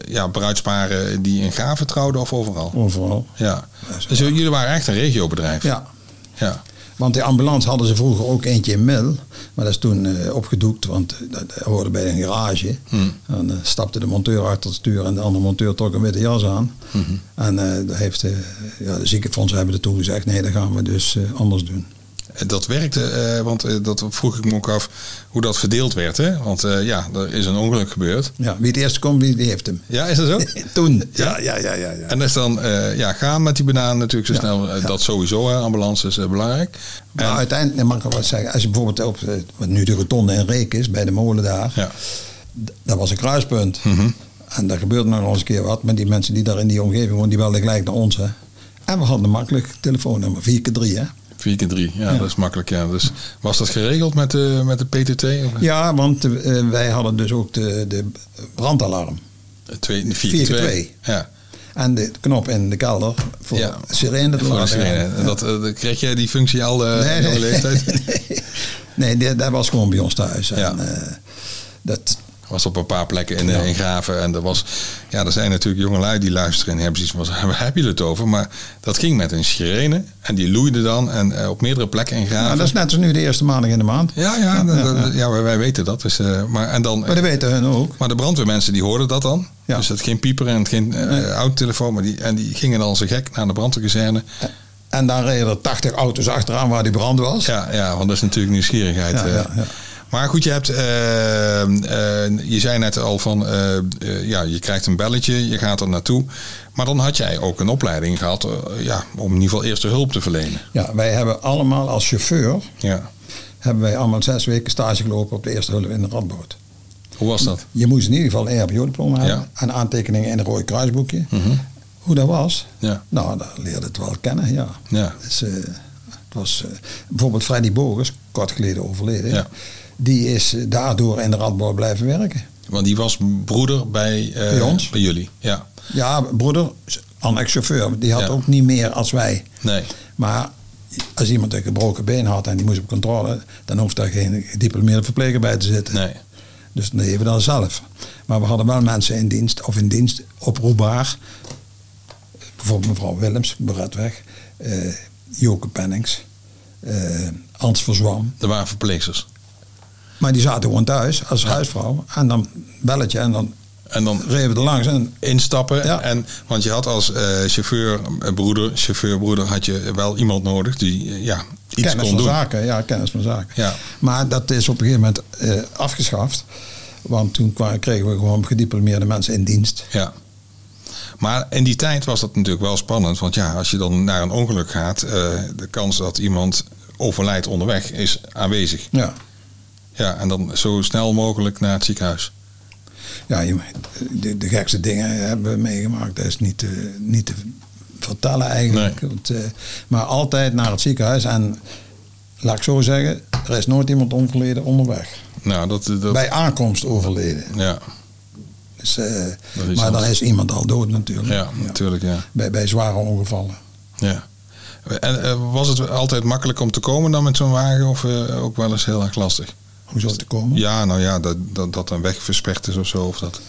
Speaker 2: ja, bruidsparen die in graven trouwden of overal.
Speaker 1: Overal.
Speaker 2: Ja.
Speaker 1: Dat is
Speaker 2: Dus jullie waren echt een regiobedrijf.
Speaker 1: Ja,
Speaker 2: ja.
Speaker 1: want die ambulance hadden ze vroeger ook eentje in Mil. Maar dat is toen eh, opgedoekt, want dat hoorde bij een garage.
Speaker 2: Hmm.
Speaker 1: En dan stapte de monteur achter het stuur en de andere monteur trok een witte jas aan.
Speaker 2: Hmm.
Speaker 1: En eh, daar heeft, eh, ja, de ziekenfondsen hebben er toen gezegd, nee, dat gaan we dus eh, anders doen.
Speaker 2: Dat werkte, eh, want eh, dat vroeg ik me ook af hoe dat verdeeld werd. Hè? Want eh, ja, er is een ongeluk gebeurd.
Speaker 1: Ja, wie het eerst komt, wie, die heeft hem.
Speaker 2: Ja, is dat zo?
Speaker 1: toen. Ja, ja, ja, ja. ja.
Speaker 2: En dat is dan eh, ja, gaan met die banaan natuurlijk zo
Speaker 1: Ja,
Speaker 2: snel. eh, Dat sowieso, hè, ambulance is eh, belangrijk. En,
Speaker 1: Maar Nou, uiteindelijk, mag ik wel wat zeggen, als je bijvoorbeeld op, eh, wat nu de rotonde in Reek is, bij de molen daar,
Speaker 2: ja, Mhm.
Speaker 1: d- dat was een kruispunt. En daar gebeurde nog wel eens een keer wat, maar die mensen die daar in die omgeving woonden, die belden gelijk naar ons. Hè. En we hadden een makkelijk telefoonnummer, 4 keer 3 hè.
Speaker 2: vier keer drie. Ja,
Speaker 1: Ja.
Speaker 2: dat is makkelijk. Ja. Dus was dat geregeld met de, met de PTT? Of-
Speaker 1: Ja, want eh, wij hadden dus ook de, de brandalarm.
Speaker 2: Twee,
Speaker 1: keer
Speaker 2: vier, keer twee.
Speaker 1: twee.
Speaker 2: Ja,
Speaker 1: En de knop in de kelder voor
Speaker 2: Ja.
Speaker 1: sirene te
Speaker 2: voor de
Speaker 1: laten
Speaker 2: sirene.
Speaker 1: gaan.
Speaker 2: En Dat, eh, dat- kreeg jij die functie al eh
Speaker 1: nee,
Speaker 2: in jouw
Speaker 1: nee,
Speaker 2: leeftijd?
Speaker 1: nee. Nee, die- dat was gewoon bij ons thuis. En,
Speaker 2: Ja.
Speaker 1: eh, dat,
Speaker 2: was op een paar plekken in, eh, in Graven. En er, was, ja, er zijn natuurlijk jongelui die luisteren en hebben zoiets van... waar heb je het over? Maar dat ging met een sirene. En die loeide dan en eh, op meerdere plekken in Graven.
Speaker 1: nou, dat is net als nu de eerste maandag in de maand.
Speaker 2: Ja, ja, dat- dat- ja, wij- wij weten dat. Dus, eh, maar, en dan,
Speaker 1: Maar dat weten hun ook.
Speaker 2: maar de brandweermensen die hoorden dat dan.
Speaker 1: Ja.
Speaker 2: Dus dat geen pieper en geen eh autotelefoon. Maar die, en die gingen dan zo gek naar de brandweerkazerne.
Speaker 1: En daar reden er 80 auto's achteraan waar die brand was.
Speaker 2: Ja, ja, want dat is natuurlijk nieuwsgierigheid.
Speaker 1: Ja,
Speaker 2: eh.
Speaker 1: ja, ja.
Speaker 2: Maar goed, je hebt, eh, eh, je zei net al van, eh, eh, ja, je krijgt een belletje, je gaat er naartoe. Maar dan had jij ook een opleiding gehad, eh, ja, om in ieder geval eerste hulp te verlenen.
Speaker 1: Ja, wij hebben allemaal als chauffeur,
Speaker 2: Ja.
Speaker 1: hebben wij allemaal zes weken stage gelopen op de eerste hulp in de radboot.
Speaker 2: Hoe was dat?
Speaker 1: Je moest in ieder geval een EHBO-diploma hebben
Speaker 2: Ja. Mhm.
Speaker 1: en aantekeningen in een rode kruisboekje. Hoe dat was,
Speaker 2: Ja.
Speaker 1: nou, dat leerde het wel kennen, ja.
Speaker 2: Ja.
Speaker 1: Dus, eh, het was, eh, bijvoorbeeld Freddy Bogers, kort geleden overleden,
Speaker 2: Ja.
Speaker 1: die is eh, daardoor in de radboot blijven werken.
Speaker 2: Want die was broeder bij, eh,
Speaker 1: Bij ons?
Speaker 2: bij jullie. Ja.
Speaker 1: Ja, broeder, annex chauffeur, die had
Speaker 2: Ja.
Speaker 1: ook niet meer als wij.
Speaker 2: Nee.
Speaker 1: Maar als iemand een gebroken been had en die moest op controle, dan hoeft daar geen gediplomeerde verpleger bij te zitten.
Speaker 2: Nee.
Speaker 1: Dus dat deden we dan zelf. Maar we hadden wel mensen in dienst, of in dienst, oproepbaar. Bijvoorbeeld mevrouw Willems, Beretweg, eh Joke Pennings, eh Hans Verzwam.
Speaker 2: Er waren verpleegsters.
Speaker 1: Maar die zaten gewoon thuis als huisvrouw. En dan belletje en dan
Speaker 2: En dan
Speaker 1: reden we er langs. En
Speaker 2: instappen.
Speaker 1: Ja.
Speaker 2: En, want je had als eh, chauffeur, eh, broeder, chauffeurbroeder, had je wel iemand nodig die eh, ja, iets
Speaker 1: kennis
Speaker 2: kon
Speaker 1: van
Speaker 2: doen.
Speaker 1: zaken, ja, kennis van zaken.
Speaker 2: Ja.
Speaker 1: Maar dat is op een gegeven moment eh, afgeschaft. Want toen kwa- kregen we gewoon gediplomeerde mensen in dienst.
Speaker 2: Ja. Maar in die tijd was dat natuurlijk wel spannend. Want ja, als je dan naar een ongeluk gaat, eh, de kans dat iemand overlijdt onderweg is aanwezig.
Speaker 1: Ja,
Speaker 2: Ja, en dan zo snel mogelijk naar het ziekenhuis.
Speaker 1: ja je- de, de gekste dingen hebben we meegemaakt. Dat is niet te, niet te vertellen eigenlijk. Want, eh, maar altijd naar het ziekenhuis. En laat ik zo zeggen, er is nooit iemand overleden onderweg.
Speaker 2: Nou, dat... dat
Speaker 1: Bij aankomst overleden.
Speaker 2: ja,
Speaker 1: Dus, eh,
Speaker 2: is
Speaker 1: maar dan
Speaker 2: anders.
Speaker 1: is iemand al dood natuurlijk.
Speaker 2: ja,
Speaker 1: Ja.
Speaker 2: natuurlijk, ja.
Speaker 1: Bij, bij zware ongevallen.
Speaker 2: ja. En eh, was het altijd makkelijk om te komen dan met zo'n wagen? Of eh, ook wel eens heel erg lastig?
Speaker 1: Hoe zou het te komen?
Speaker 2: Ja, nou ja, dat, dat, dat een weg versperd is of zo. Of dat,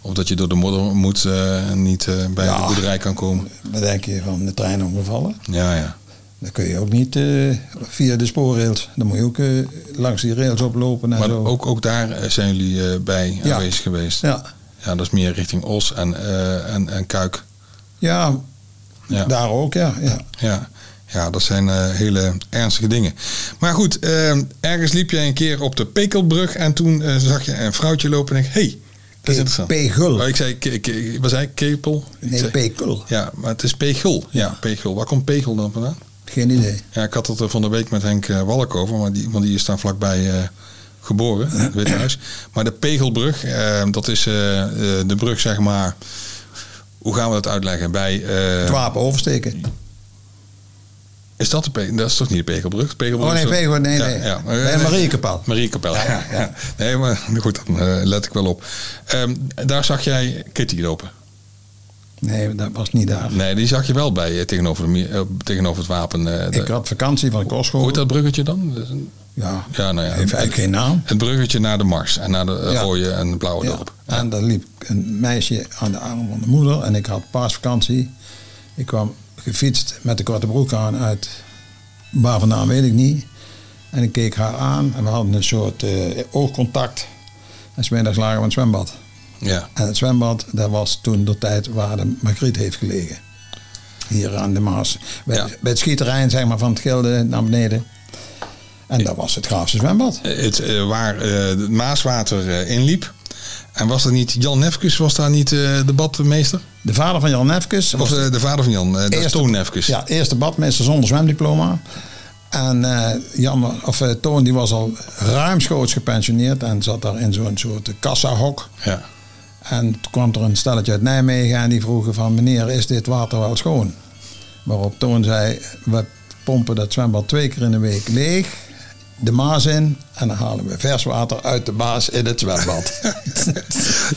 Speaker 2: of dat je door de modder moet eh, en niet eh, bij
Speaker 1: Ja.
Speaker 2: de boerderij kan komen.
Speaker 1: Dan denk je van de treinongevallen.
Speaker 2: Ja, ja.
Speaker 1: Dan kun je ook niet eh, via de spoorrails. Dan moet je ook eh, langs die rails oplopen en
Speaker 2: Maar
Speaker 1: zo.
Speaker 2: ook, ook daar eh, zijn jullie eh, bij
Speaker 1: Ja.
Speaker 2: aanwezig geweest. Ja.
Speaker 1: Ja,
Speaker 2: dat is meer richting Os en, eh, en, en Kuik.
Speaker 1: ja,
Speaker 2: Ja.
Speaker 1: daar ook, ja. ja.
Speaker 2: Ja, ja dat zijn eh, hele ernstige dingen. Maar goed, eh, ergens liep jij een keer op de Pekelbrug en toen eh, zag je een vrouwtje lopen en ik, hey, dat is interessant.
Speaker 1: Pegul.
Speaker 2: Oh, ik zei, ke, ke- wat zei ik? Kepel? Ik
Speaker 1: Nee,
Speaker 2: zei-
Speaker 1: Pekul.
Speaker 2: Ja, maar het is Pegel. Ja, Pegel. Waar komt Pegel dan vandaan?
Speaker 1: Geen idee.
Speaker 2: Ja, ik had het er van de week met Henk eh, Walk over, maar die, want die is daar vlakbij eh, geboren, in het Witte Huis. Maar de Pegelbrug, eh, dat is eh, eh, de brug, zeg maar. Hoe gaan we dat uitleggen? Bij, eh,
Speaker 1: Het wapen oversteken.
Speaker 2: is dat de Pe- Dat is toch niet de Pegelbrug? De Pegelbrug
Speaker 1: Oh, nee,
Speaker 2: is toch-
Speaker 1: Pegel- nee, nee. Bij Mariekapel.
Speaker 2: eh, Mariekapel, ja. ja. Nee, maar goed, dan eh, let ik wel op. Ehm, daar zag jij Kitty lopen.
Speaker 1: Nee, dat was niet daar.
Speaker 2: Nee, die zag je wel bij, eh, tegenover, de, mi- eh, tegenover het wapen. eh de-
Speaker 1: Ik had vakantie van
Speaker 2: Hoe
Speaker 1: kostschool.
Speaker 2: heet dat bruggetje dan? Dat is een-
Speaker 1: Ja,
Speaker 2: Ja, nou ja.
Speaker 1: heeft eigenlijk geen naam.
Speaker 2: Het bruggetje naar de Mars en naar de eh,
Speaker 1: Ja.
Speaker 2: rode en de blauwe
Speaker 1: Ja.
Speaker 2: dorp.
Speaker 1: En daar liep een meisje aan de arm van de moeder. En ik had paasvakantie. Ik kwam gefietst met de korte broek aan uit waar vandaan weet ik niet. En ik keek haar aan en we hadden een soort eh, oogcontact. En smiddags lagen we in het zwembad.
Speaker 2: Ja.
Speaker 1: En het zwembad, dat was toen de tijd waar de Margriet heeft gelegen. Hier aan de Maas. Bij,
Speaker 2: Ja.
Speaker 1: bij het schieterrein zeg maar, van het Gilde naar beneden. En dat was het Graafse zwembad.
Speaker 2: Eh, Het, eh, waar eh, het Maaswater eh, inliep. En was dat niet Jan Nefkes, was daar niet eh, de badmeester?
Speaker 1: De vader van Jan Nefkes
Speaker 2: Of eh, de vader van Jan, eh, dat is
Speaker 1: Eerste-
Speaker 2: Toon Nefkes.
Speaker 1: Ja, eerste badmeester zonder zwemdiploma. En eh, Jan, of, eh, Toon die was al ruimschoots gepensioneerd en zat daar in zo'n soort kassahok.
Speaker 2: Ja.
Speaker 1: En toen kwam er een stelletje uit Nijmegen en die vroegen van meneer, is dit water wel schoon? Waarop Toon zei, we pompen dat zwembad twee keer in de week leeg, de Maas in en dan halen we vers water uit de Maas in het zwembad.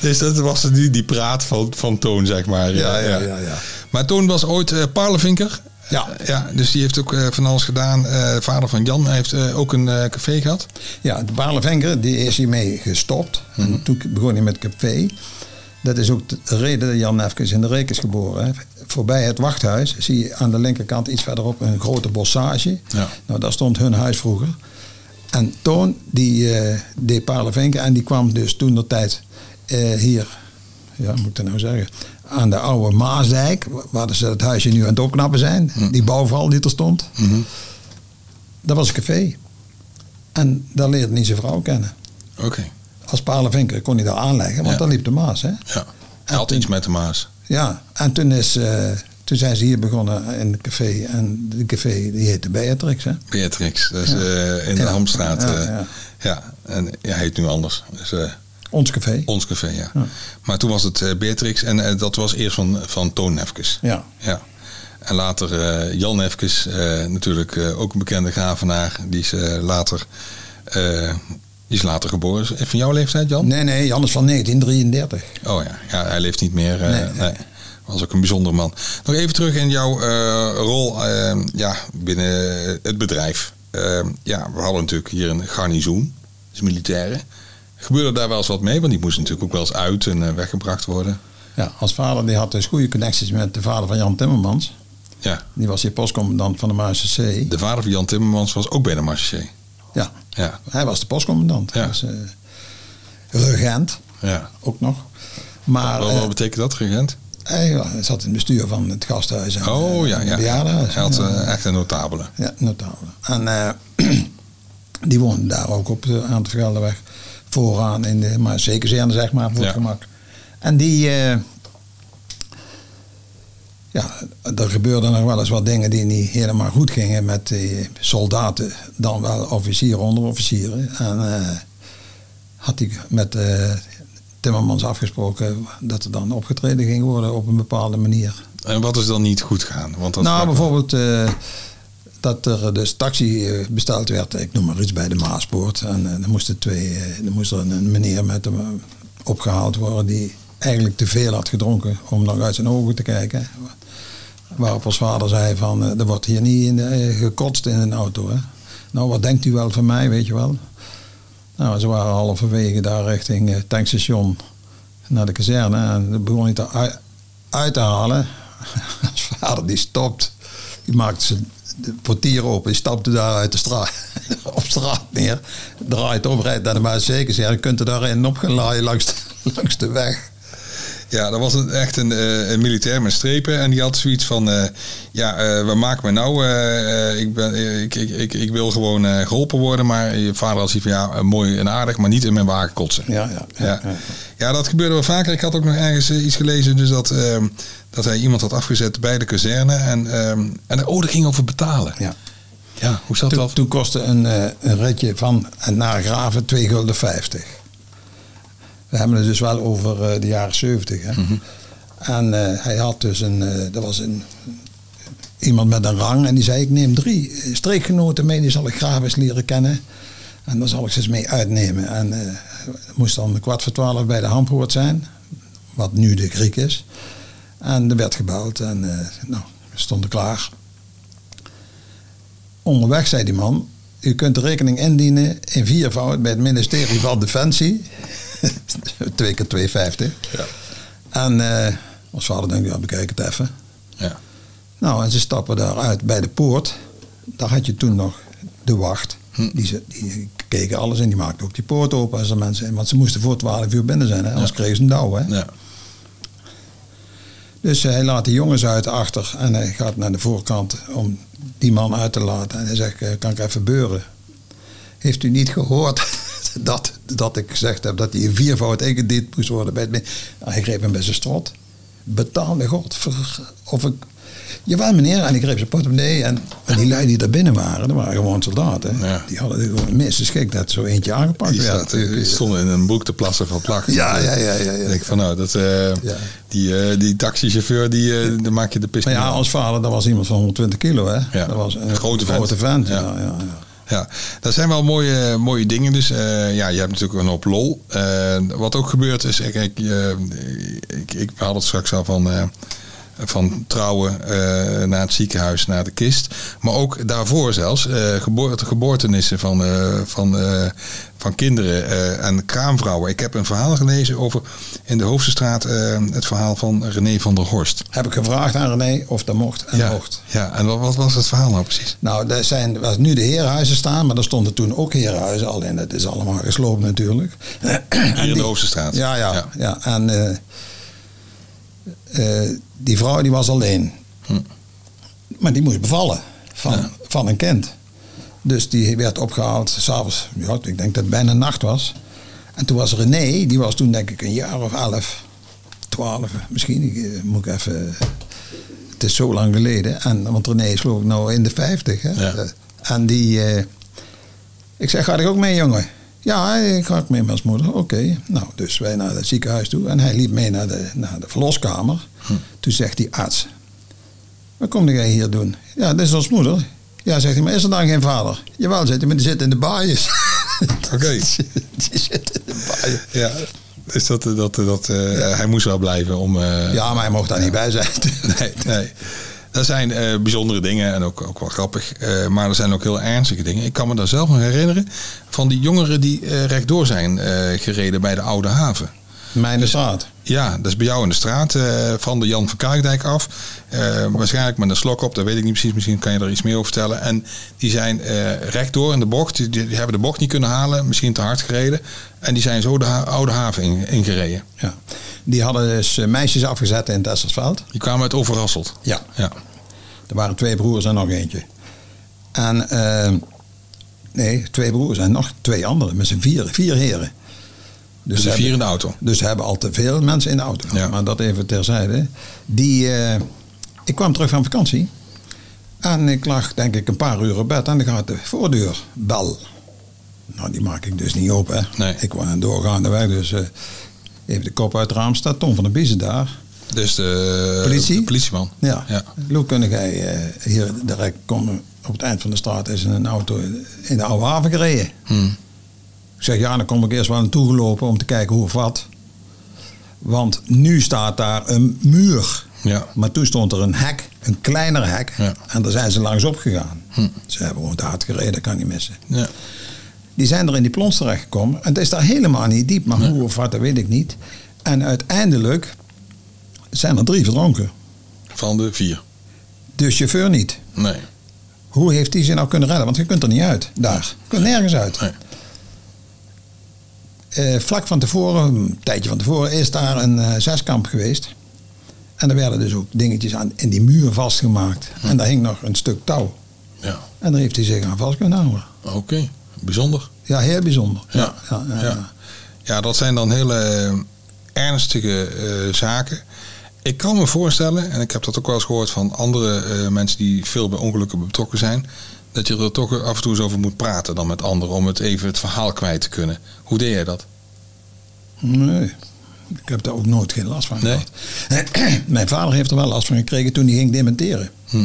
Speaker 2: Dus dat was die, die praat van, van Toon, zeg maar.
Speaker 1: Ja, ja, ja, ja.
Speaker 2: Maar Toon was ooit eh parlevinker.
Speaker 1: Ja.
Speaker 2: Eh, ja. Dus die heeft ook eh, van alles gedaan. Eh, vader van Jan heeft eh, ook een eh, café gehad.
Speaker 1: Ja, de Balenvenker, die is hiermee gestopt. En toen begon hij met café. Dat is ook de reden dat Jan Nefkes in de Reek is geboren. hè. Voorbij het wachthuis zie je aan de linkerkant iets verderop een grote bossage.
Speaker 2: Ja.
Speaker 1: Nou, daar stond hun huis vroeger. En Toon, die eh deed Palenvenken en die kwam dus toen de tijd eh, hier, ja, hoe moet ik dat nou zeggen, aan de oude Maasdijk, wa- waar ze het huisje nu aan het opknappen zijn, die bouwval die er stond. Dat was een café. En daar leerde hij zijn vrouw kennen.
Speaker 2: Oké.
Speaker 1: Als Palenvinker kon hij daar aanleggen, want
Speaker 2: Ja.
Speaker 1: daar liep de Maas. Hè?
Speaker 2: Ja. Hij had iets met de Maas.
Speaker 1: Ja, en toen, is, eh, toen zijn ze hier begonnen in het café. En de café die heette Beatrix. Hè?
Speaker 2: Beatrix, dus, eh, in de
Speaker 1: Ja.
Speaker 2: Hamstraat.
Speaker 1: Ja,
Speaker 2: eh,
Speaker 1: ja.
Speaker 2: ja. en ja, hij heet nu anders. Dus, eh,
Speaker 1: Ons café.
Speaker 2: ons café, ja.
Speaker 1: Ja.
Speaker 2: Maar toen was het eh, Beatrix en eh, dat was eerst van, van Toon Nefkes.
Speaker 1: Ja.
Speaker 2: Ja. En later eh, Jan Nefkes, eh, natuurlijk eh, ook een bekende gravenaar. Die is, eh, later, eh, die is later geboren. Is hij Van jouw leeftijd, Jan?
Speaker 1: Nee, nee, Jan is van 1933.
Speaker 2: Oh ja. ja, hij leeft niet meer. eh,
Speaker 1: Nee,
Speaker 2: nee, Was ook een bijzonder man. Nog even terug in jouw eh, rol eh, ja, binnen het bedrijf. Eh, ja, we hadden natuurlijk hier een garnizoen, dus militairen. Gebeurde daar wel eens wat mee? Want die moesten natuurlijk ook wel eens uit en eh, weggebracht worden.
Speaker 1: Ja, als vader die had dus goede connecties met de vader van Jan Timmermans.
Speaker 2: Ja.
Speaker 1: Die was hier postcommandant van de MACC.
Speaker 2: De vader van Jan Timmermans was ook bij de marché.
Speaker 1: Ja.
Speaker 2: Ja.
Speaker 1: Hij was de postcommandant.
Speaker 2: Ja.
Speaker 1: Hij was eh, regent,
Speaker 2: ja.
Speaker 1: ook nog. Maar
Speaker 2: Wat,
Speaker 1: eh,
Speaker 2: wat betekent dat, regent?
Speaker 1: hij wa- zat in het bestuur van het gasthuis en
Speaker 2: Oh
Speaker 1: eh,
Speaker 2: ja, ja.
Speaker 1: bejaardenhuis.
Speaker 2: Hij had
Speaker 1: Ja.
Speaker 2: eh, echt een notabele.
Speaker 1: Ja, notabele. En eh, die woonde daar ook op de, aan de Vergelderweg. Vooraan in de, maar zeker zeer, zeg maar, voor
Speaker 2: Ja.
Speaker 1: het gemak. En die, eh, ja, er gebeurden nog wel eens wat dingen die niet helemaal goed gingen met die soldaten, dan wel officieren, onderofficieren. En eh, had hij met eh, Timmermans afgesproken dat er dan opgetreden ging worden op een bepaalde manier.
Speaker 2: En wat is dan niet goed gaan? Want dat
Speaker 1: Nou, bijvoorbeeld eh, dat er dus taxi eh, besteld werd, ik noem maar iets, bij de Maaspoort. En eh, er moesten twee, eh, er moest er een, een meneer met hem eh, opgehaald worden die eigenlijk te veel had gedronken om nog uit zijn ogen te kijken. Waarop ons vader zei van, eh, er wordt hier niet in, eh, gekotst in een auto. Hè? Nou, wat denkt u wel van mij, weet je wel? Nou, ze waren halverwege daar richting het tankstation naar de kazerne. En dat begon hij te ui- uit te halen. Als vader die stopt, die maakt zijn de portier open, die stapte daar uit de straat, op straat neer, draait om, rijdt naar de Maaszeker, zegt, je kunt er daarin op gaan laaien langs de, langs de weg.
Speaker 2: Ja, dat was een, echt een, eh, een militair met strepen. En die had zoiets van, eh, ja, eh wat maakt me nou? eh, eh, ik, ben, eh, ik, ik, ik, ik wil gewoon eh, geholpen worden. Maar je vader had zoiets van, ja, eh, mooi en aardig, maar niet in mijn wagen kotsen.
Speaker 1: Ja, ja.
Speaker 2: Ja. ja, dat gebeurde wel vaker. Ik had ook nog ergens eh, iets gelezen dus dat, ehm, dat hij iemand had afgezet bij de kazerne. En, ehm en oh, dat ging over betalen.
Speaker 1: Ja.
Speaker 2: Ja, hoe zat
Speaker 1: Toen,
Speaker 2: dat?
Speaker 1: toen kostte een, eh, een ritje van en naar Graven 2,50 gulden. We hebben het dus wel over eh, de jaren 70. Hè?
Speaker 2: Mhm.
Speaker 1: En eh, hij had dus een, eh dat was een, iemand met een rang en die zei: Ik neem drie eh, streekgenoten mee, die zal ik graag eens leren kennen. En daar zal ik ze eens mee uitnemen. En eh, het moest dan kwart voor twaalf bij de Hampoort zijn, wat nu de Griek is. En er werd gebeld en eh, nou, we stonden klaar. Onderweg zei die man, u kunt de rekening indienen in viervoud bij het ministerie van Defensie. 2 keer 2,50.
Speaker 2: Ja.
Speaker 1: En eh ons vader denkt, ja, bekijk het even.
Speaker 2: Ja.
Speaker 1: Nou, en ze stappen daaruit bij de poort. Daar had je toen nog de wacht.
Speaker 2: Hm.
Speaker 1: Die, ze- die keken alles en die maakten ook die poort open als er mensen in. Want ze moesten voor 12 uur binnen zijn, hè? anders kregen ze een douw. Hè?
Speaker 2: Ja.
Speaker 1: Dus eh, hij laat die jongens uit achter en hij gaat naar de voorkant om die man uit te laten. En hij zegt, eh, kan ik even beuren? Heeft u niet gehoord dat, dat ik gezegd heb dat hij in viervoud ingediend moest worden? Bij het, min- Ah, hij greep hem bij zijn strot. Betaal me God. ver- Of ik, jawel meneer. En ik greep zijn portemonnee. En, en die lui die daar binnen waren, dat waren gewoon soldaten.
Speaker 2: Ja.
Speaker 1: Die hadden gewoon minstens schik dat zo eentje aangepakt
Speaker 2: Die,
Speaker 1: werd.
Speaker 2: staat, eh, die stonden in een broek te plassen van plak.
Speaker 1: Ja, ja, ja, ja,
Speaker 2: Ik
Speaker 1: ja.
Speaker 2: denk van nou, dat, eh,
Speaker 1: Ja.
Speaker 2: die, eh, die taxichauffeur, die, eh, daar maak je de pis
Speaker 1: Maar
Speaker 2: mee
Speaker 1: ja,
Speaker 2: aan.
Speaker 1: als vader, dat was iemand van 120 kilo, hè?
Speaker 2: Ja.
Speaker 1: Dat was een
Speaker 2: Een grote vent.
Speaker 1: grote vent. Ja,
Speaker 2: Ja.
Speaker 1: ja, ja.
Speaker 2: Ja, dat zijn wel mooie, mooie dingen. Dus eh, ja, je hebt natuurlijk een hoop lol. Eh, wat ook gebeurt is, ik, ik, eh, ik, ik we hadden het straks al van, eh, van trouwen eh, naar het ziekenhuis, naar de kist. Maar ook daarvoor zelfs, eh geboorte, geboortenissen van, eh, van, eh, van kinderen eh, en kraamvrouwen. Ik heb een verhaal gelezen over in de Hoofdstraat eh, het verhaal van René van der Horst.
Speaker 1: Heb ik gevraagd aan René of dat mocht en
Speaker 2: ja,
Speaker 1: mocht.
Speaker 2: ja, en wat, wat was het verhaal nou precies?
Speaker 1: Nou, daar zijn waar nu de herenhuizen staan, maar er stonden toen ook herenhuizen. Alleen het is allemaal gesloopt natuurlijk.
Speaker 2: Hier in de Hoofdstraat.
Speaker 1: Ja, ja, ja. En eh, eh, die vrouw die was alleen.
Speaker 2: Hm.
Speaker 1: Maar die moest bevallen van,
Speaker 2: Ja.
Speaker 1: van een kind. Dus die werd opgehaald s'avonds. Ja, ik denk dat het bijna nacht was. En toen was René, die was toen denk ik een jaar of elf, twaalf misschien. Ik, eh, moet ik even... Het is zo lang geleden. En, want René is geloof ik nou in de vijftig. Hè?
Speaker 2: Ja.
Speaker 1: Eh, En die... eh, ik zeg, ga ik ook mee jongen? Ja, ik ga ook mee met als moeder. Oké. Nou, dus wij naar het ziekenhuis toe. En hij liep mee naar de, naar de verloskamer.
Speaker 2: Hm.
Speaker 1: Toen zegt die arts... Wat kom jij hier doen? Ja, dit is ons moeder. Ja, zegt hij, maar is er dan geen vader? Jawel, zegt hij, maar die zit in de baaiers.
Speaker 2: Oké.
Speaker 1: die zit in de baaiers.
Speaker 2: Ja, dus dat, dat, dat, eh, hij moest wel blijven om... eh,
Speaker 1: Ja, maar hij mocht daar niet bij zijn.
Speaker 2: Nee, nee. Dat zijn eh, bijzondere dingen en ook, ook wel grappig. eh, maar er zijn ook heel ernstige dingen. Ik kan me daar zelf nog herinneren van die jongeren die eh, rechtdoor zijn eh, gereden bij de Oude Haven.
Speaker 1: Mijn straat.
Speaker 2: Ja, dat is bij jou in de straat eh, van de Jan van Kuikdijk af. Eh, waarschijnlijk met een slok op, dat weet ik niet precies. Misschien kan je er iets meer over vertellen. En die zijn eh rechtdoor in de bocht. Die, die hebben de bocht niet kunnen halen, misschien te hard gereden. En die zijn zo de ha- oude haven in- ingereden.
Speaker 1: Ja. Die hadden dus eh, meisjes afgezet in het Essersveld.
Speaker 2: Die kwamen uit Overrasseld.
Speaker 1: Ja.
Speaker 2: Ja.
Speaker 1: Er waren twee broers en nog eentje. En, eh, nee, twee broers en nog twee anderen, met z'n vier, vier heren.
Speaker 2: Dus de
Speaker 1: hebben-
Speaker 2: vier in de auto.
Speaker 1: Dus ze hebben al te veel mensen in de auto.
Speaker 2: Ja.
Speaker 1: Maar dat even terzijde. Die, eh, ik kwam terug van vakantie. En ik lag denk ik een paar uur op bed. En ik had de voordeur bel. Nou, die maak ik dus niet open. Hè.
Speaker 2: Nee.
Speaker 1: Ik was een doorgaande weg. Dus eh, even de kop uit het raam staat. Tom van der Biezen daar.
Speaker 2: Dus de,
Speaker 1: Politie?
Speaker 2: de politieman.
Speaker 1: Ja.
Speaker 2: Ja.
Speaker 1: Loopkundige, eh, hier direct komen, op het eind van de straat is een auto in de oude haven gereden.
Speaker 2: Hmm.
Speaker 1: Ik zeg, ja, dan kom ik eerst wel naartoe gelopen om te kijken hoe of wat. Want nu staat daar een muur.
Speaker 2: Ja.
Speaker 1: Maar toen stond er een hek, een kleiner hek.
Speaker 2: Ja.
Speaker 1: En daar zijn ze langs opgegaan.
Speaker 2: Hm.
Speaker 1: Ze hebben gewoon te hard gereden, dat kan niet missen.
Speaker 2: Ja.
Speaker 1: Die zijn er in die plons terechtgekomen. En het is daar helemaal niet diep, maar hoe of wat, dat weet ik niet. En uiteindelijk zijn er drie verdronken.
Speaker 2: Van de vier.
Speaker 1: De chauffeur niet.
Speaker 2: Nee.
Speaker 1: Hoe heeft die ze nou kunnen redden? Want je kunt er niet uit, daar. Je kunt nergens uit.
Speaker 2: Nee.
Speaker 1: Eh, vlak van tevoren, een tijdje van tevoren, is daar een eh, zeskamp geweest. En er werden dus ook dingetjes aan, in die muur vastgemaakt. En daar hing nog een stuk touw.
Speaker 2: Hm. Ja.
Speaker 1: En daar heeft hij zich aan vast kunnen houden.
Speaker 2: Oké. Bijzonder.
Speaker 1: Ja, heel bijzonder.
Speaker 2: Ja,
Speaker 1: ja, ja,
Speaker 2: ja. Ja, dat zijn dan hele eh, ernstige eh, zaken. Ik kan me voorstellen, en ik heb dat ook wel eens gehoord van andere eh, mensen die veel bij ongelukken betrokken zijn, dat je er toch af en toe eens over moet praten dan met anderen om het even het verhaal kwijt te kunnen. Hoe deed jij dat?
Speaker 1: Nee, ik heb daar ook nooit geen last van
Speaker 2: Nee?
Speaker 1: gehad. Mijn vader heeft er wel last van gekregen toen hij ging dementeren.
Speaker 2: Hm.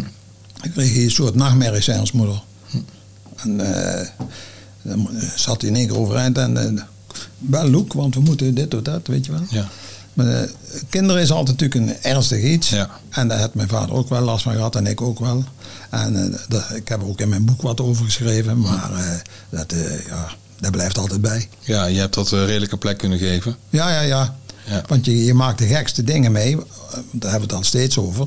Speaker 1: Ik kreeg een soort nachtmerrie, zei ons moeder.
Speaker 2: Hmm.
Speaker 1: En eh, dan mo- zat hij in één keer overeind en... eh, wel Loek, want we moeten dit of dat, weet je wel.
Speaker 2: Ja.
Speaker 1: Maar eh, kinderen is altijd natuurlijk een ernstig iets.
Speaker 2: Ja.
Speaker 1: En daar heeft mijn vader ook wel last van gehad en ik ook wel. En eh, daar- ik heb er ook in mijn boek wat over geschreven, maar eh, dat, eh, ja, dat blijft altijd bij.
Speaker 2: Ja, je hebt dat eh, redelijke plek kunnen geven.
Speaker 1: Ja, ja, ja.
Speaker 2: Ja.
Speaker 1: Want je, je maakt de gekste dingen mee. eh, Daar hebben we het al steeds over.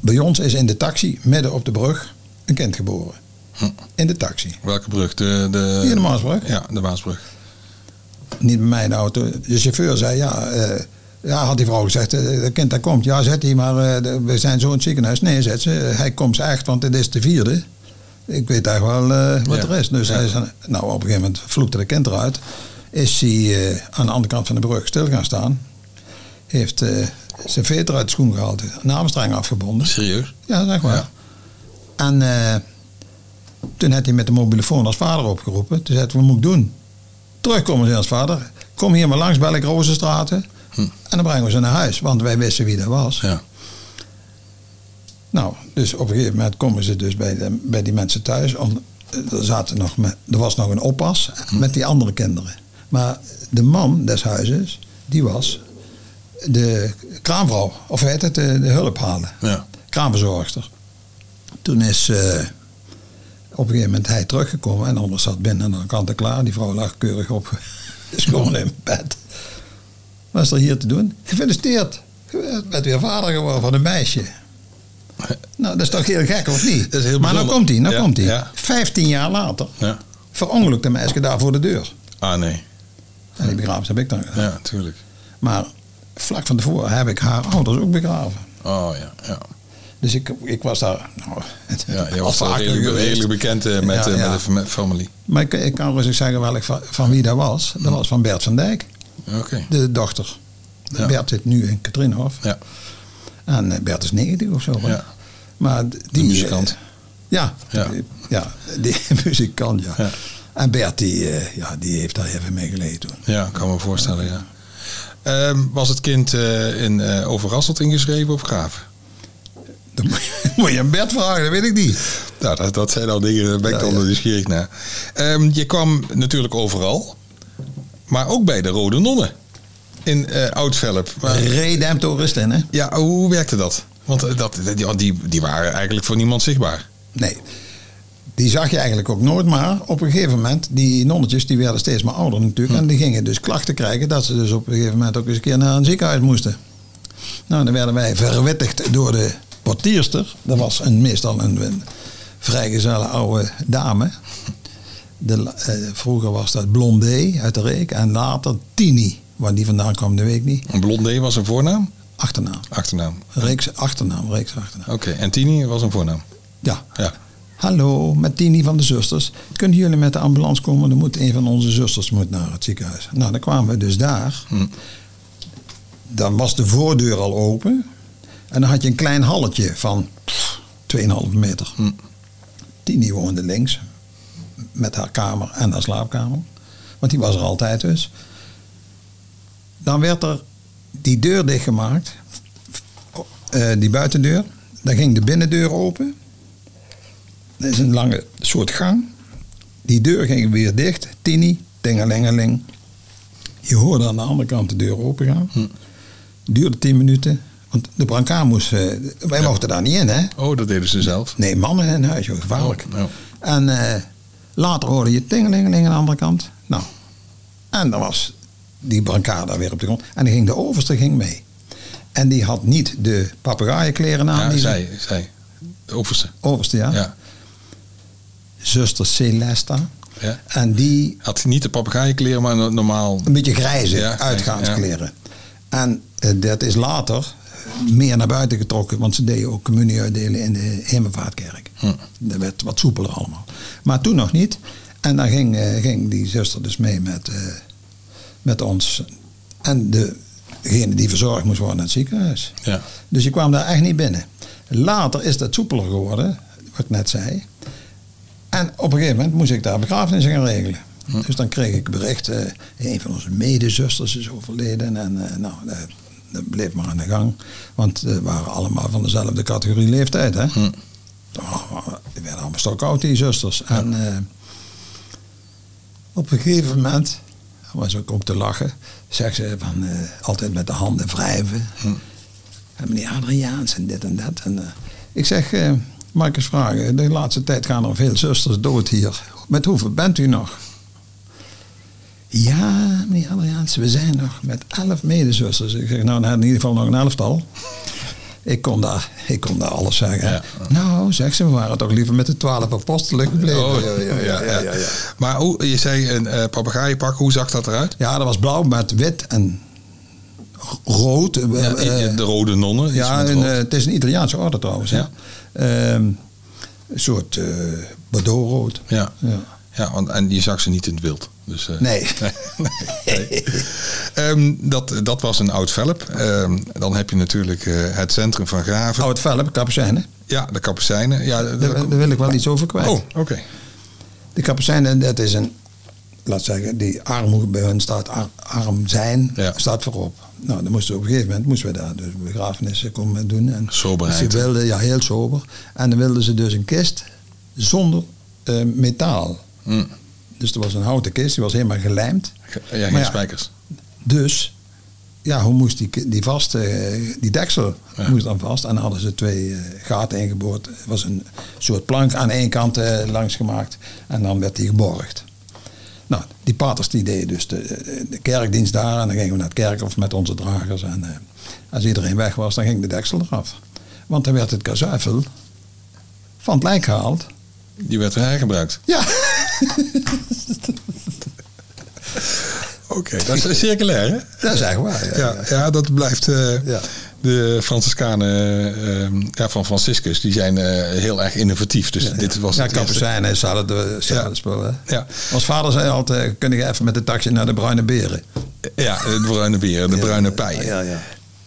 Speaker 1: Bij ons is in de taxi, midden op de brug, een kind geboren.
Speaker 2: Hm.
Speaker 1: In de taxi.
Speaker 2: Welke brug? De, de,
Speaker 1: Hier in de Maasbrug.
Speaker 2: Ja, de Maasbrug.
Speaker 1: Niet bij mij in de auto. De chauffeur zei, ja, eh, ja had die vrouw gezegd, eh, dat kind dat komt. Ja, zet hij maar, eh, de- we zijn zo in het ziekenhuis. Nee, zet ze, hij komt echt, want het is de vierde. Ik weet eigenlijk wel eh, wat
Speaker 2: Ja.
Speaker 1: er is. Dus
Speaker 2: Ja.
Speaker 1: hij zei, nou, op een gegeven moment vloekte de kind eruit. Is hij eh, aan de andere kant van de brug stil gaan staan. Heeft eh, zijn veter uit de schoen gehaald. Een hamstreng afgebonden.
Speaker 2: Serieus?
Speaker 1: Ja, zeg maar.
Speaker 2: Ja.
Speaker 1: En eh, toen had hij met de mobiele foon als vader opgeroepen. Toen zei hij, wat moet ik doen? Terugkomen ze als vader. Kom hier maar langs, bel ik Rozenstraten.
Speaker 2: Hm.
Speaker 1: En dan brengen we ze naar huis, want wij wisten wie dat was.
Speaker 2: Ja.
Speaker 1: Nou, dus op een gegeven moment komen ze dus bij, de, bij die mensen thuis. Om, er, zaten nog met, er was nog een oppas
Speaker 2: Hm.
Speaker 1: met die andere kinderen. Maar de man des huizes, die was de kraamvrouw. Of hoe heet het, de, de hulp halen
Speaker 2: Ja.
Speaker 1: kraanverzorgster. Toen is eh, op een gegeven moment hij teruggekomen en anders zat binnen en dan kant en klaar. Die vrouw lag keurig op, schoon in bed. Wat is er hier te doen? Gefeliciteerd, je bent weer vader geworden van een meisje. Nou, dat is toch heel gek, of niet?
Speaker 2: Dat is heel
Speaker 1: maar nou
Speaker 2: bijzonder.
Speaker 1: komt hij, nou
Speaker 2: Ja,
Speaker 1: komt hij.
Speaker 2: ja.
Speaker 1: 15 jaar later
Speaker 2: ja.
Speaker 1: verongelukt de meisje daar voor de deur.
Speaker 2: Ah, nee.
Speaker 1: En die begrafenis heb ik dan gedaan.
Speaker 2: Ja, tuurlijk.
Speaker 1: Maar vlak van tevoren heb ik haar ouders ook begraven.
Speaker 2: Oh ja. ja.
Speaker 1: Dus ik, ik was daar nou,
Speaker 2: ja je
Speaker 1: al
Speaker 2: was wel
Speaker 1: vaker
Speaker 2: redelijk,
Speaker 1: geweest.
Speaker 2: redelijk bekend eh, met,
Speaker 1: Ja,
Speaker 2: eh,
Speaker 1: ja.
Speaker 2: met de fam- familie.
Speaker 1: Maar ik, ik kan rustig zeggen welk, van, van wie dat was. Dat was van Bert van Dijk,
Speaker 2: Oké.
Speaker 1: de dochter.
Speaker 2: Ja.
Speaker 1: Bert zit nu in Katrinhof.
Speaker 2: Ja.
Speaker 1: En eh, Bert is 90 of zo.
Speaker 2: Ja.
Speaker 1: Maar d- die...
Speaker 2: muzikant.
Speaker 1: eh, Ja,
Speaker 2: Ja.
Speaker 1: ja. ja, die muzikant, ja.
Speaker 2: Ja.
Speaker 1: En Bert, die, eh, ja, die heeft daar even mee geleden toen.
Speaker 2: Ja, kan me voorstellen, ja. Ehm, was het kind eh, in eh Overrasselt ingeschreven op Graaf?
Speaker 1: Dan moet je- moet je aan Bert vragen, dat weet ik niet.
Speaker 2: Nou, dat, dat zijn al dingen, daar ben ik
Speaker 1: Ja,
Speaker 2: dan
Speaker 1: ja.
Speaker 2: nieuwsgierig naar. Ehm, je kwam natuurlijk overal, maar ook bij de Rode Nonnen in eh Oudvelp. Maar-
Speaker 1: Redempto Rustin, hè?
Speaker 2: ja, hoe werkte dat? Want eh, dat, die, die, die waren eigenlijk voor niemand zichtbaar.
Speaker 1: Nee. die zag je eigenlijk ook nooit, maar op een gegeven moment, die nonnetjes die werden steeds maar ouder natuurlijk. En die gingen dus klachten krijgen dat ze dus op een gegeven moment ook eens een keer naar een ziekenhuis moesten. Nou, dan werden wij verwittigd door de portierster. Dat was een, meestal een, een vrijgezelle oude dame. De, la- eh, vroeger was dat Blondé uit de reek en later Tini. Waar die vandaan kwam, dat weet ik niet.
Speaker 2: Een blondé was een voornaam?
Speaker 1: Achternaam.
Speaker 2: Achternaam.
Speaker 1: Reeks achternaam, reeks achternaam.
Speaker 2: Oké, en Tini was een voornaam.
Speaker 1: Ja.
Speaker 2: Ja.
Speaker 1: Hallo, met Tini van de zusters. Kunnen jullie met de ambulance komen? Dan moet een van onze zusters moet naar het ziekenhuis. Nou, dan kwamen we dus daar.
Speaker 2: Hm.
Speaker 1: Dan was de voordeur al open. En dan had je een klein halletje van pff, 2,5 meter.
Speaker 2: Hm.
Speaker 1: Tini woonde links. Met haar kamer en haar slaapkamer. Want die was er altijd dus. Dan werd er die deur dichtgemaakt. eh, die buitendeur. Dan ging de binnendeur open. Dat is een lange soort gang. Die deur ging weer dicht. Tini, tingelingeling. Je hoorde aan de andere kant de deur opengaan.
Speaker 2: Hm.
Speaker 1: Duurde tien minuten. Want de brancard moest... eh, wij mochten daar niet in, hè?
Speaker 2: Oh, dat deden ze zelf.
Speaker 1: Nee, mannen in huis, joh, gevaarlijk.
Speaker 2: Oh, oh.
Speaker 1: En eh, later hoorde je tingelingeling aan de andere kant. Nou, en dan was die brancard daar weer op de grond. En dan ging de overste ging mee. En die had niet de papegaaienkleren aan.
Speaker 2: Ja,
Speaker 1: die ze-
Speaker 2: zij, zij. De overste.
Speaker 1: Overste, ja.
Speaker 2: Ja.
Speaker 1: Zuster Celesta.
Speaker 2: Ja.
Speaker 1: En die
Speaker 2: Had niet de papegaaienkleren, maar no- normaal.
Speaker 1: een beetje grijze
Speaker 2: Ja,
Speaker 1: uitgaanskleren. En eh, dat is later meer naar buiten getrokken, want ze deden ook communie uitdelen in de Hemelvaartkerk.
Speaker 2: Hm.
Speaker 1: Dat werd wat soepeler allemaal. Maar toen nog niet. En dan ging, eh, ging die zuster dus mee met, eh, met ons en de, degene die verzorgd moest worden in het ziekenhuis.
Speaker 2: Ja.
Speaker 1: Dus je kwam daar echt niet binnen. Later is dat soepeler geworden, wat ik net zei. En op een gegeven moment moest ik daar begrafenis gaan regelen.
Speaker 2: Hm.
Speaker 1: Dus dan kreeg ik bericht, eh, een van onze medezusters is overleden. En eh, nou, eh, dat bleef maar aan de gang. Want eh, we waren allemaal van dezelfde categorie leeftijd. Hè?
Speaker 2: Hm.
Speaker 1: Oh, die werden allemaal stokoud, die zusters. En eh, op een gegeven moment, daar was ook om te lachen, zegt ze van eh, altijd met de handen wrijven.
Speaker 2: Hm.
Speaker 1: En meneer Adriaans en dit en dat. En, eh, ik zeg, eh mag ik eens vragen, de laatste tijd gaan er veel zusters dood hier. Met hoeveel bent u nog? Ja, meneer Adriaans, we zijn nog met elf medezusters. Ik zeg, nou, dan hebben we in ieder geval nog een elftal. Ik kon daar, ik kon daar alles zeggen.
Speaker 2: Ja.
Speaker 1: Nou, zeg ze, we waren toch liever met de twaalf apostelen gebleven.
Speaker 2: Oh, Maar hoe, je zei een eh papegaaienpak, hoe zag dat eruit?
Speaker 1: Ja, dat was blauw met wit en ro- rood. Eh,
Speaker 2: Ja,
Speaker 1: eh,
Speaker 2: de rode nonnen. iets
Speaker 1: ja,
Speaker 2: met
Speaker 1: een,
Speaker 2: rood.
Speaker 1: eh, het is een Italiaanse orde trouwens. hè.
Speaker 2: Ja.
Speaker 1: Ehm, een soort eh Bordeaux-rood.
Speaker 2: ja.
Speaker 1: Ja.
Speaker 2: ja want, en je zag ze niet in het wild. Dus, eh,
Speaker 1: eh, Nee.
Speaker 2: Nee. Ehm, dat, dat was een oud velp. Ehm, dan heb je natuurlijk eh, het centrum van Graven.
Speaker 1: Oud Velp, Capucijnen.
Speaker 2: Ja, de Kapucijnen. Ja, de-
Speaker 1: Daar, daar wil ik wel iets over kwijt.
Speaker 2: oh, oké.
Speaker 1: De Capucijnen, dat is een, laat zeggen, die armoede bij hun staat, ar- arm zijn,
Speaker 2: Ja.
Speaker 1: staat voorop. Nou, dan moesten we op een gegeven moment moesten we daar dus begrafenissen komen doen. En dus
Speaker 2: Soberheid.
Speaker 1: Ze wilden, ja, heel sober. En dan wilden ze dus een kist zonder eh, metaal.
Speaker 2: Hm.
Speaker 1: Dus er was een houten kist, die was helemaal gelijmd.
Speaker 2: Ge- Ja, geen
Speaker 1: Maar ja,
Speaker 2: spijkers.
Speaker 1: Dus, ja, hoe moest die, ki- die vast, eh, die deksel
Speaker 2: Ja.
Speaker 1: moest dan vast. En dan hadden ze twee eh, gaten ingeboord. Er was een soort plank aan één kant eh, langs gemaakt. En dan werd die geborgd. Nou, die paters die deden dus de, eh, de kerkdienst daar. En dan gingen we naar het kerkhof met onze dragers. En eh, als iedereen weg was, dan ging de deksel eraf. Want dan werd het kazuifel van het lijk gehaald.
Speaker 2: Die werd hergebruikt.
Speaker 1: Ja,
Speaker 2: Oké, dat is circulair, hè?
Speaker 1: dat is echt waar. ja,
Speaker 2: Ja,
Speaker 1: ja.
Speaker 2: ja, dat blijft. eh,
Speaker 1: Ja.
Speaker 2: De Franciscanen eh, ja, van Franciscus, die zijn eh, heel erg innovatief. Dus dit was
Speaker 1: ja,
Speaker 2: het eerste.
Speaker 1: kapucijnen is hadden de
Speaker 2: Ja.
Speaker 1: spullen.
Speaker 2: Ja.
Speaker 1: Ons vader zei altijd, kun je even met de taxi naar de Bruine Beren?
Speaker 2: Ja, eh, de bruine beren, de bruine pij.
Speaker 1: Ja, ja.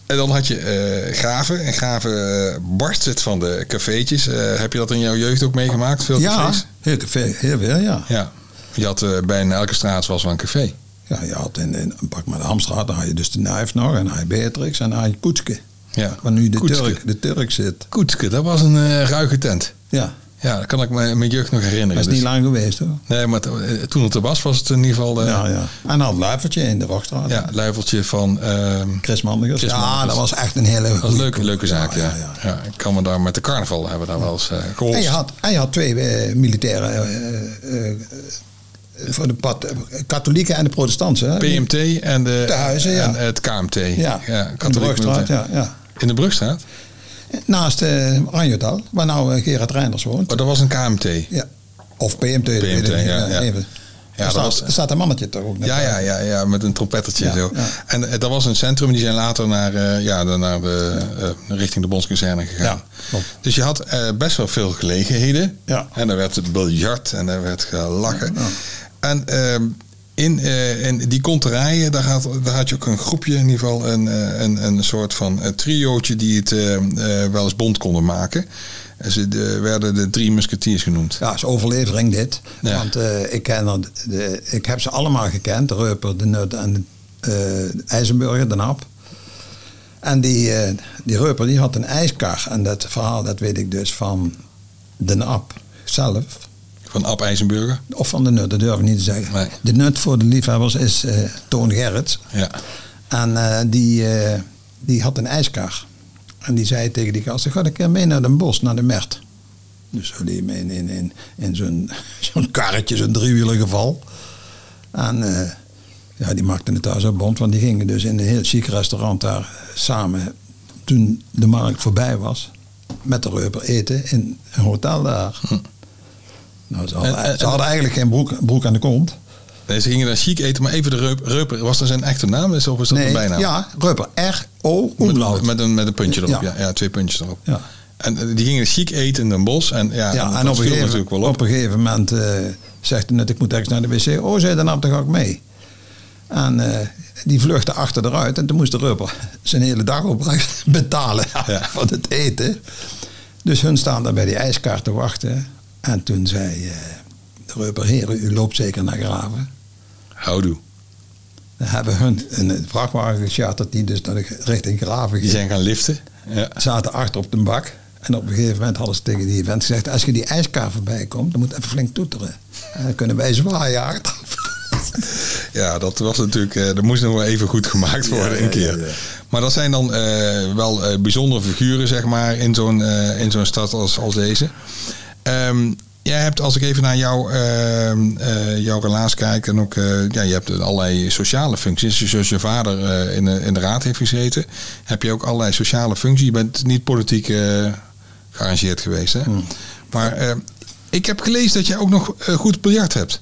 Speaker 2: En dan had je eh, graven. En graven eh, barst het van de cafeetjes. Eh, heb je dat in jouw jeugd ook meegemaakt? Veel
Speaker 1: Ja,
Speaker 2: cafés?
Speaker 1: heel, veel- heel veel, ja.
Speaker 2: Ja. Je had eh, bijna elke straat was wel een café.
Speaker 1: Ja, je had in, in een pak met de Hamstraat, dan had je dus de Nuif nog, en dan had je Beatrix, en dan had je Koetske.
Speaker 2: Ja.
Speaker 1: Waar nu de
Speaker 2: Koetske.
Speaker 1: Turk, de Turk zit.
Speaker 2: Koetske, dat was een eh, ruige tent.
Speaker 1: Ja.
Speaker 2: Ja, dat kan ik me mijn jeugd nog herinneren.
Speaker 1: Dat is niet
Speaker 2: Dus-
Speaker 1: lang geweest hoor.
Speaker 2: Nee, maar t- eh, toen het er was, was het in ieder geval... eh, ja,
Speaker 1: ja, ja. En dan het luifertje in de Wachtstraat.
Speaker 2: het luifeltje van... ehm,
Speaker 1: Chris Manders.
Speaker 2: Chris
Speaker 1: Ja,
Speaker 2: Manders.
Speaker 1: dat was echt een hele
Speaker 2: dat was een
Speaker 1: goeie
Speaker 2: leuke,
Speaker 1: ploeg.
Speaker 2: leuke zaak, ja.
Speaker 1: ja,
Speaker 2: Ja, Ik kan me daar met de carnaval hebben we daar wel eens eh geholpen.
Speaker 1: En je had, en je had twee eh, militairen eh, eh, eh, voor de pat, katholieken en de protestanten. hè? Die-
Speaker 2: PMT en, de,
Speaker 1: Te huizen, ja.
Speaker 2: en het KMT.
Speaker 1: Ja, in de
Speaker 2: katholiek
Speaker 1: Brugstraat,
Speaker 2: militair.
Speaker 1: ja, ja.
Speaker 2: In de Brugstraat?
Speaker 1: Naast eh Anjotal, waar nou eh, Gerard Reinders woont.
Speaker 2: Oh, dat was een KMT. Ja,
Speaker 1: Ja. Of PMT. dat weet ik
Speaker 2: PMT,
Speaker 1: niet, eh,
Speaker 2: ja, ja.
Speaker 1: even.
Speaker 2: dat
Speaker 1: Er staat,
Speaker 2: was,
Speaker 1: er staat een mannetje toch ook net
Speaker 2: ja,
Speaker 1: bij.
Speaker 2: ja, ja, ja, met een trompettertje en
Speaker 1: Ja,
Speaker 2: zo.
Speaker 1: ja.
Speaker 2: En eh, dat was een centrum. Die zijn later naar, eh, ja, dan naar de, eh, richting de Bondskazerne gegaan.
Speaker 1: Ja, klopt.
Speaker 2: dus je had eh, best wel veel gelegenheden.
Speaker 1: Ja.
Speaker 2: En er werd biljart en er werd gelachen. En ehm, in, eh, in die konterijen, daar had, daar had je ook een groepje, in ieder geval een, eh, een, een soort van eh, triootje die het eh, eh, wel eens bond konden maken. En ze eh, werden de drie musketiers genoemd.
Speaker 1: Ja, is overlevering dit.
Speaker 2: Ja.
Speaker 1: Want eh, ik, ken er, de, ik heb ze allemaal gekend. De Reuper, de Nut en eh de IJzenburger, de Nap. En die, eh, die Reuper die had een ijskar. En dat verhaal dat weet ik dus van de Nap zelf.
Speaker 2: Van Ab IJzenburger.
Speaker 1: Of van de Nut, dat durf ik niet te zeggen.
Speaker 2: Nee.
Speaker 1: De Nut voor de liefhebbers is eh, Toon Gerrits.
Speaker 2: Ja.
Speaker 1: En eh, die, eh, die had een ijskar. En die zei tegen die gasten, ga een keer mee naar Den bos, naar de Mert. Dus zo die hem in, in, in, in zo'n zo'n karretje, zo'n driewieler geval. En eh, ja, die maakten het daar zo bond, want die gingen dus in een heel chic restaurant daar samen, toen de markt voorbij was, met de reuper eten in een hotel daar. Nou, ze hadden,
Speaker 2: Hm. En- en-
Speaker 1: ze hadden eigenlijk geen broek, broek aan de kont.
Speaker 2: Nee, ze gingen daar chic eten, maar even de reup, Reuper. Was dat zijn echte naam is, of is dat een bijnaam?
Speaker 1: ja, reuper. R-O,
Speaker 2: met,
Speaker 1: omlaut.
Speaker 2: met, een, met een puntje erop, ja.
Speaker 1: Ja.
Speaker 2: Ja, twee puntjes erop.
Speaker 1: Ja.
Speaker 2: En eh, die gingen chic eten in Den Bosch. En, ja,
Speaker 1: Ja,
Speaker 2: dat
Speaker 1: en op
Speaker 2: viel
Speaker 1: een, gegeven,
Speaker 2: natuurlijk wel op.
Speaker 1: op een gegeven moment eh, zegt hij net, ik moet ergens naar de wc. Oh, zei de naam, dan ga ik mee. En eh, die vluchtte achter eruit en toen moest de rubber zijn hele dag opbrengen betalen
Speaker 2: Ja.
Speaker 1: van het eten. Dus hun staan daar bij die ijskaart te wachten. En toen zei eh, de rubber, heren, u loopt zeker naar Graven.
Speaker 2: Houdoe.
Speaker 1: Dan hebben hun een vrachtwagen gecharterd die dus naar de, richting Graven
Speaker 2: Die
Speaker 1: ging.
Speaker 2: zijn gaan liften. Ja.
Speaker 1: Zaten achter op de bak. En op een gegeven moment hadden ze tegen die vent gezegd... als je die ijskaar voorbij komt, dan moet je even flink toeteren. En dan kunnen wij zwaaien achteraf.
Speaker 2: ja, dat was natuurlijk... eh, dat moest nog wel even goed gemaakt worden
Speaker 1: ja,
Speaker 2: een keer.
Speaker 1: ja, ja.
Speaker 2: Maar dat zijn dan eh, wel eh, bijzondere figuren, zeg maar, in zo'n, eh, in zo'n stad als, als deze. Ehm, jij hebt, als ik even naar jouw, ehm, eh, jouw relaas kijk, en ook, eh, ja, je hebt allerlei sociale functies. Dus Zoals je vader eh, in, de, in de raad heeft gezeten, heb je ook allerlei sociale functies. Je bent niet politiek eh, gearrangeerd geweest, hè?
Speaker 1: Hmm.
Speaker 2: Maar eh, ik heb gelezen dat jij ook nog eh, goed biljart hebt.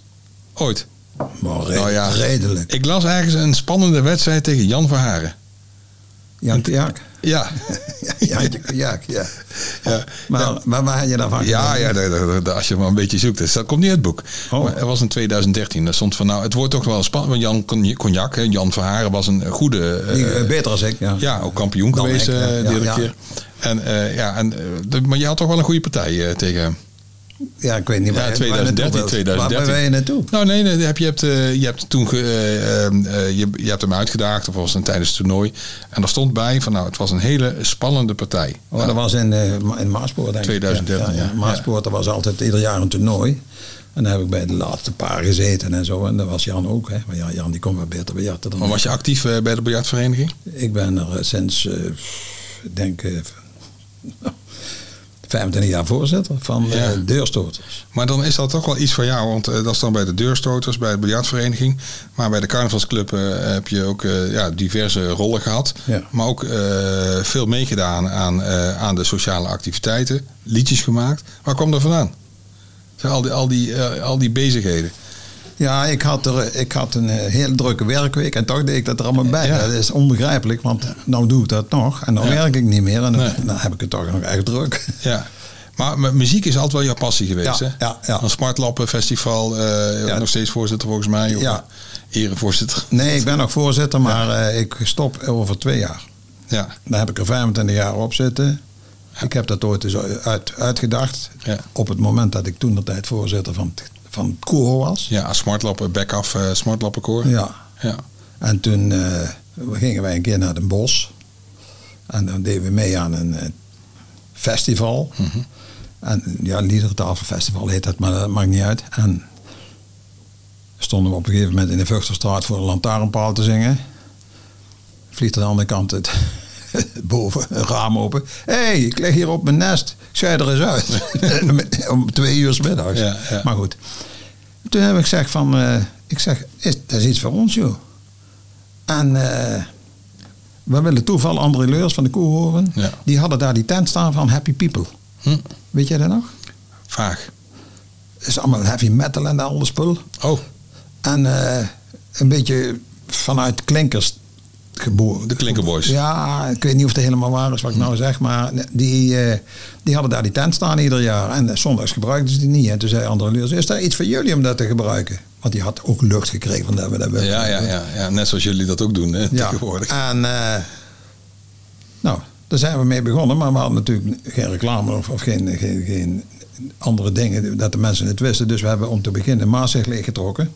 Speaker 2: Ooit.
Speaker 1: Maar re-
Speaker 2: Nou ja.
Speaker 1: redelijk.
Speaker 2: Ik las ergens een spannende wedstrijd tegen Jan Verharen.
Speaker 1: Jantje Jaak.
Speaker 2: Ja.
Speaker 1: Jantje Jaak, ja.
Speaker 2: ja.
Speaker 1: Maar,
Speaker 2: Ja.
Speaker 1: maar waar had je daarvan
Speaker 2: Ja,
Speaker 1: gedaan?
Speaker 2: ja de- de- de- als je maar een beetje zoekt. Dus dat komt niet uit het boek.
Speaker 1: Oh.
Speaker 2: Maar er was in 2013. Daar stond van, nou, het wordt toch wel spannend. Want Jan Cogn- Cognac, hè, Jan Verharen was een goede... eh,
Speaker 1: Die, eh, beter als ik, ja.
Speaker 2: ja, ook kampioen
Speaker 1: Dan
Speaker 2: geweest
Speaker 1: ik,
Speaker 2: eh,
Speaker 1: ja,
Speaker 2: de hele
Speaker 1: ja.
Speaker 2: keer. En, eh, ja, en, eh, de- maar je had toch wel een goede partij eh, tegen hem.
Speaker 1: Ja, ik weet niet
Speaker 2: Ja,
Speaker 1: waar,
Speaker 2: 2013,
Speaker 1: waar je naartoe wilt.
Speaker 2: 2013.
Speaker 1: Waar ben je naartoe?
Speaker 2: Nou nee, nee, heb, je, hebt, eh, je, hebt toen ge- eh, ehm, eh, je, je hebt hem uitgedaagd. Of was het tijdens het toernooi. En daar stond bij van, nou, het was een hele spannende partij.
Speaker 1: Oh, dat was in, eh, Ma- in Maaspoort, denk ik.
Speaker 2: 2013, ja.
Speaker 1: Maaspoort, er was altijd ieder jaar een toernooi. En daar heb ik bij de laatste paar gezeten en zo. En daar was Jan ook, hè. Maar ja, Jan die kon wel beter bejatten dan
Speaker 2: Maar was je actief eh, bij de biljartvereniging?
Speaker 1: Ik ben er eh, sinds, eh, ik denk, eh, 25 jaar voorzitter van eh
Speaker 2: Ja.
Speaker 1: deurstoters.
Speaker 2: Maar dan is dat toch wel iets voor jou, want eh, dat is dan bij de deurstoters, bij de biljartvereniging. Maar bij de carnavalsclub eh, heb je ook eh, ja, diverse rollen gehad.
Speaker 1: Ja.
Speaker 2: Maar ook eh, veel meegedaan aan, eh, aan de sociale activiteiten, liedjes gemaakt. Waar kwam dat vandaan? Zijn Al die, al die, eh, al die bezigheden.
Speaker 1: Ja, ik had, er, ik had een eh, hele drukke werkweek en toch deed ik dat er allemaal bij.
Speaker 2: Ja.
Speaker 1: Dat is onbegrijpelijk, want nou doe ik dat nog en dan
Speaker 2: Ja.
Speaker 1: werk ik niet meer en dan,
Speaker 2: Nee.
Speaker 1: dan heb ik het toch nog echt druk.
Speaker 2: Ja. Maar mu- muziek is altijd wel jouw passie geweest,
Speaker 1: Ja,
Speaker 2: hè?
Speaker 1: ja, ja.
Speaker 2: Een smartlappenfestival, eh
Speaker 1: Ja.
Speaker 2: nog steeds voorzitter volgens mij. Of
Speaker 1: Ja.
Speaker 2: Erevoorzitter.
Speaker 1: Nee, ik ben nog voorzitter, maar eh, ik stop over twee jaar.
Speaker 2: Ja.
Speaker 1: Daar heb ik er 25 jaar op zitten. Ik heb dat ooit eens uit, uitgedacht.
Speaker 2: Ja.
Speaker 1: Op het moment dat ik toen de tijd voorzitter van, het- van het koor was.
Speaker 2: Ja, smartlappen, back-off, eh, smartlappenkoor.
Speaker 1: Ja.
Speaker 2: ja.
Speaker 1: En toen eh, gingen wij een keer naar Den Bosch. En dan deden we mee aan een eh, festival. En ja, Liedertafelfestival heet dat, maar dat maakt niet uit. En stonden we op een gegeven moment in de Vuchterstraat voor een lantaarnpaal te zingen. Vliegt aan de andere kant het boven een raam open. Hé, hey, ik lig hier op mijn nest. Ik zei er eens uit. Om twee uur 's middags.
Speaker 2: Ja, ja.
Speaker 1: Maar goed. Toen heb ik gezegd van... eh, ik zeg, is, dat is iets voor ons, joh. En eh, we willen toeval André Leurs van de Koehoorn.
Speaker 2: Ja.
Speaker 1: Die hadden daar die tent staan van Happy People.
Speaker 2: Hm,
Speaker 1: Weet jij dat nog?
Speaker 2: Vaag.
Speaker 1: Het is allemaal heavy metal en al dat spul.
Speaker 2: Oh,
Speaker 1: En eh, een beetje vanuit klinkers geboren.
Speaker 2: De Klinkerboys.
Speaker 1: Ja, ik weet niet of het helemaal waar is wat
Speaker 2: Hm.
Speaker 1: ik nou zeg, maar die, eh, die hadden daar die tent staan ieder jaar. En eh, zondags gebruikten ze die niet. En toen zei André Leurs, is daar iets voor jullie om dat te gebruiken? Want die had ook lucht gekregen van dat we dat wilden.
Speaker 2: ja, ja, ja, ja. Net zoals jullie dat ook doen hè, tegenwoordig.
Speaker 1: En eh, nou, daar zijn we mee begonnen, maar we hadden natuurlijk geen reclame of, of geen, geen, geen andere dingen dat de mensen het wisten. Dus we hebben om te beginnen Maasig leeggetrokken.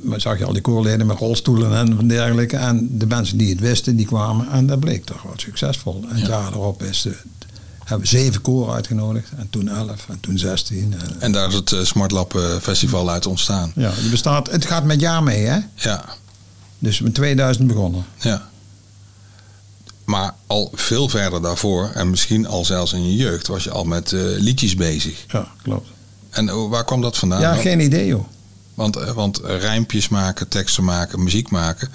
Speaker 1: Maar zag je al die koorleden met rolstoelen en dergelijke. En de mensen die het wisten, die kwamen en dat bleek toch wat succesvol. En het jaar erop is, eh, hebben we zeven koren uitgenodigd. En toen elf, en toen zestien. En,
Speaker 2: En daar is het eh, Smart Lab eh, Festival uit ontstaan.
Speaker 1: ja, het, bestaat, het gaat met jaar mee, hè?
Speaker 2: Ja,
Speaker 1: Dus met 2000 begonnen.
Speaker 2: ja. Maar al veel verder daarvoor, en misschien al zelfs in je jeugd, was je al met eh, liedjes bezig.
Speaker 1: Ja, klopt.
Speaker 2: En eh, waar kwam dat vandaan?
Speaker 1: Ja,
Speaker 2: dan?
Speaker 1: geen idee, joh.
Speaker 2: Want, eh, want rijmpjes maken, teksten maken, muziek maken.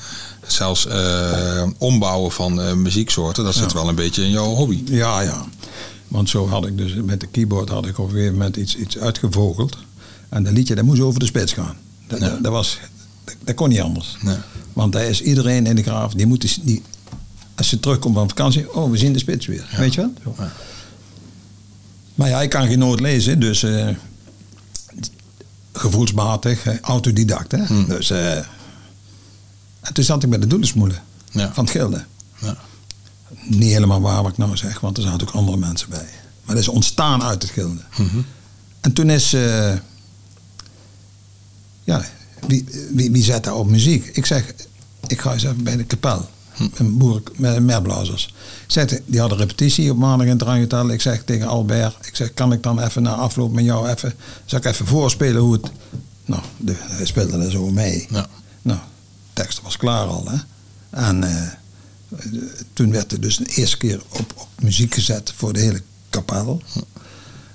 Speaker 2: Zelfs eh, ombouwen van eh, muzieksoorten, dat zit wel een beetje in jouw hobby.
Speaker 1: Ja, ja. Want zo had ik dus met de keyboard had ik op een gegeven moment iets, iets uitgevogeld. En dat liedje dat moest over de spits gaan. Dat,
Speaker 2: Ja.
Speaker 1: dat, dat was, dat, dat kon niet anders.
Speaker 2: Nee.
Speaker 1: Want daar is iedereen in de graaf, die moet die, die- als ze terugkomt van vakantie, oh we zien de spits weer. Weet je wel? Zo.
Speaker 2: Ja.
Speaker 1: Maar ja, ik kan geen noot lezen, dus eh, gevoelsmatig, eh, autodidact. Hè?
Speaker 2: Hmm.
Speaker 1: Dus, eh, en toen zat ik met de doelensmoelen
Speaker 2: Ja.
Speaker 1: van het gilde.
Speaker 2: Ja.
Speaker 1: Niet helemaal waar wat ik nou zeg, want er zaten ook andere mensen bij. Maar dat is ontstaan uit het gilde.
Speaker 2: Mhm.
Speaker 1: En toen is... eh, ja, wie, wie, wie zet daar op muziek? Ik zeg, ik ga eens even bij de kapel. Een boer met meerblazers. Ik zeg, die hadden repetitie op maandag in het Ranghotel. Ik zeg tegen Albert, ik zeg, kan ik dan even na afloop met jou even... Zal ik even voorspelen hoe het... Nou, de, hij speelde er zo mee.
Speaker 2: Ja.
Speaker 1: Nou, de tekst was klaar al, hè. En eh, toen werd er dus de eerste keer op, op muziek gezet voor de hele kapel.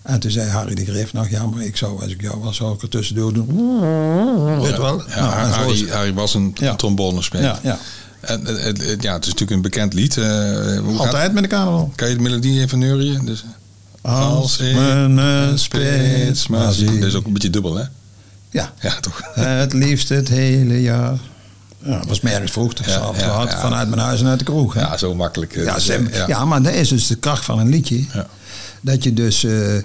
Speaker 1: En toen zei Harry de Greef, nou ja, maar ik zou, als ik jou was, zou ik er tussendoor doen. Weet je wel?
Speaker 2: Ja,
Speaker 1: Nou, en zo is
Speaker 2: Harry,
Speaker 1: het.
Speaker 2: Harry was een
Speaker 1: Ja.
Speaker 2: trombonespeler.
Speaker 1: ja, ja.
Speaker 2: En, eh, het- het- ja, het is natuurlijk een bekend lied. eh, hoe gaat-
Speaker 1: Altijd met de carnaval.
Speaker 2: kan je de melodie even neurien? Dus, Als ik
Speaker 1: een
Speaker 2: maar zie. Dat is ook een beetje dubbel, hè?
Speaker 1: Ja.
Speaker 2: Ja, toch?
Speaker 1: Het liefst het hele jaar. Ja, dat was mergens vroeg, dus
Speaker 2: Ja,
Speaker 1: s'avonds
Speaker 2: ja,
Speaker 1: laat,
Speaker 2: ja.
Speaker 1: vanuit mijn huis en uit de kroeg. hè.
Speaker 2: Ja, zo makkelijk. eh,
Speaker 1: Ja,
Speaker 2: dus,
Speaker 1: sim-
Speaker 2: eh,
Speaker 1: ja. maar dat is dus de kracht van een liedje.
Speaker 2: Ja.
Speaker 1: Dat je dus eh, eh,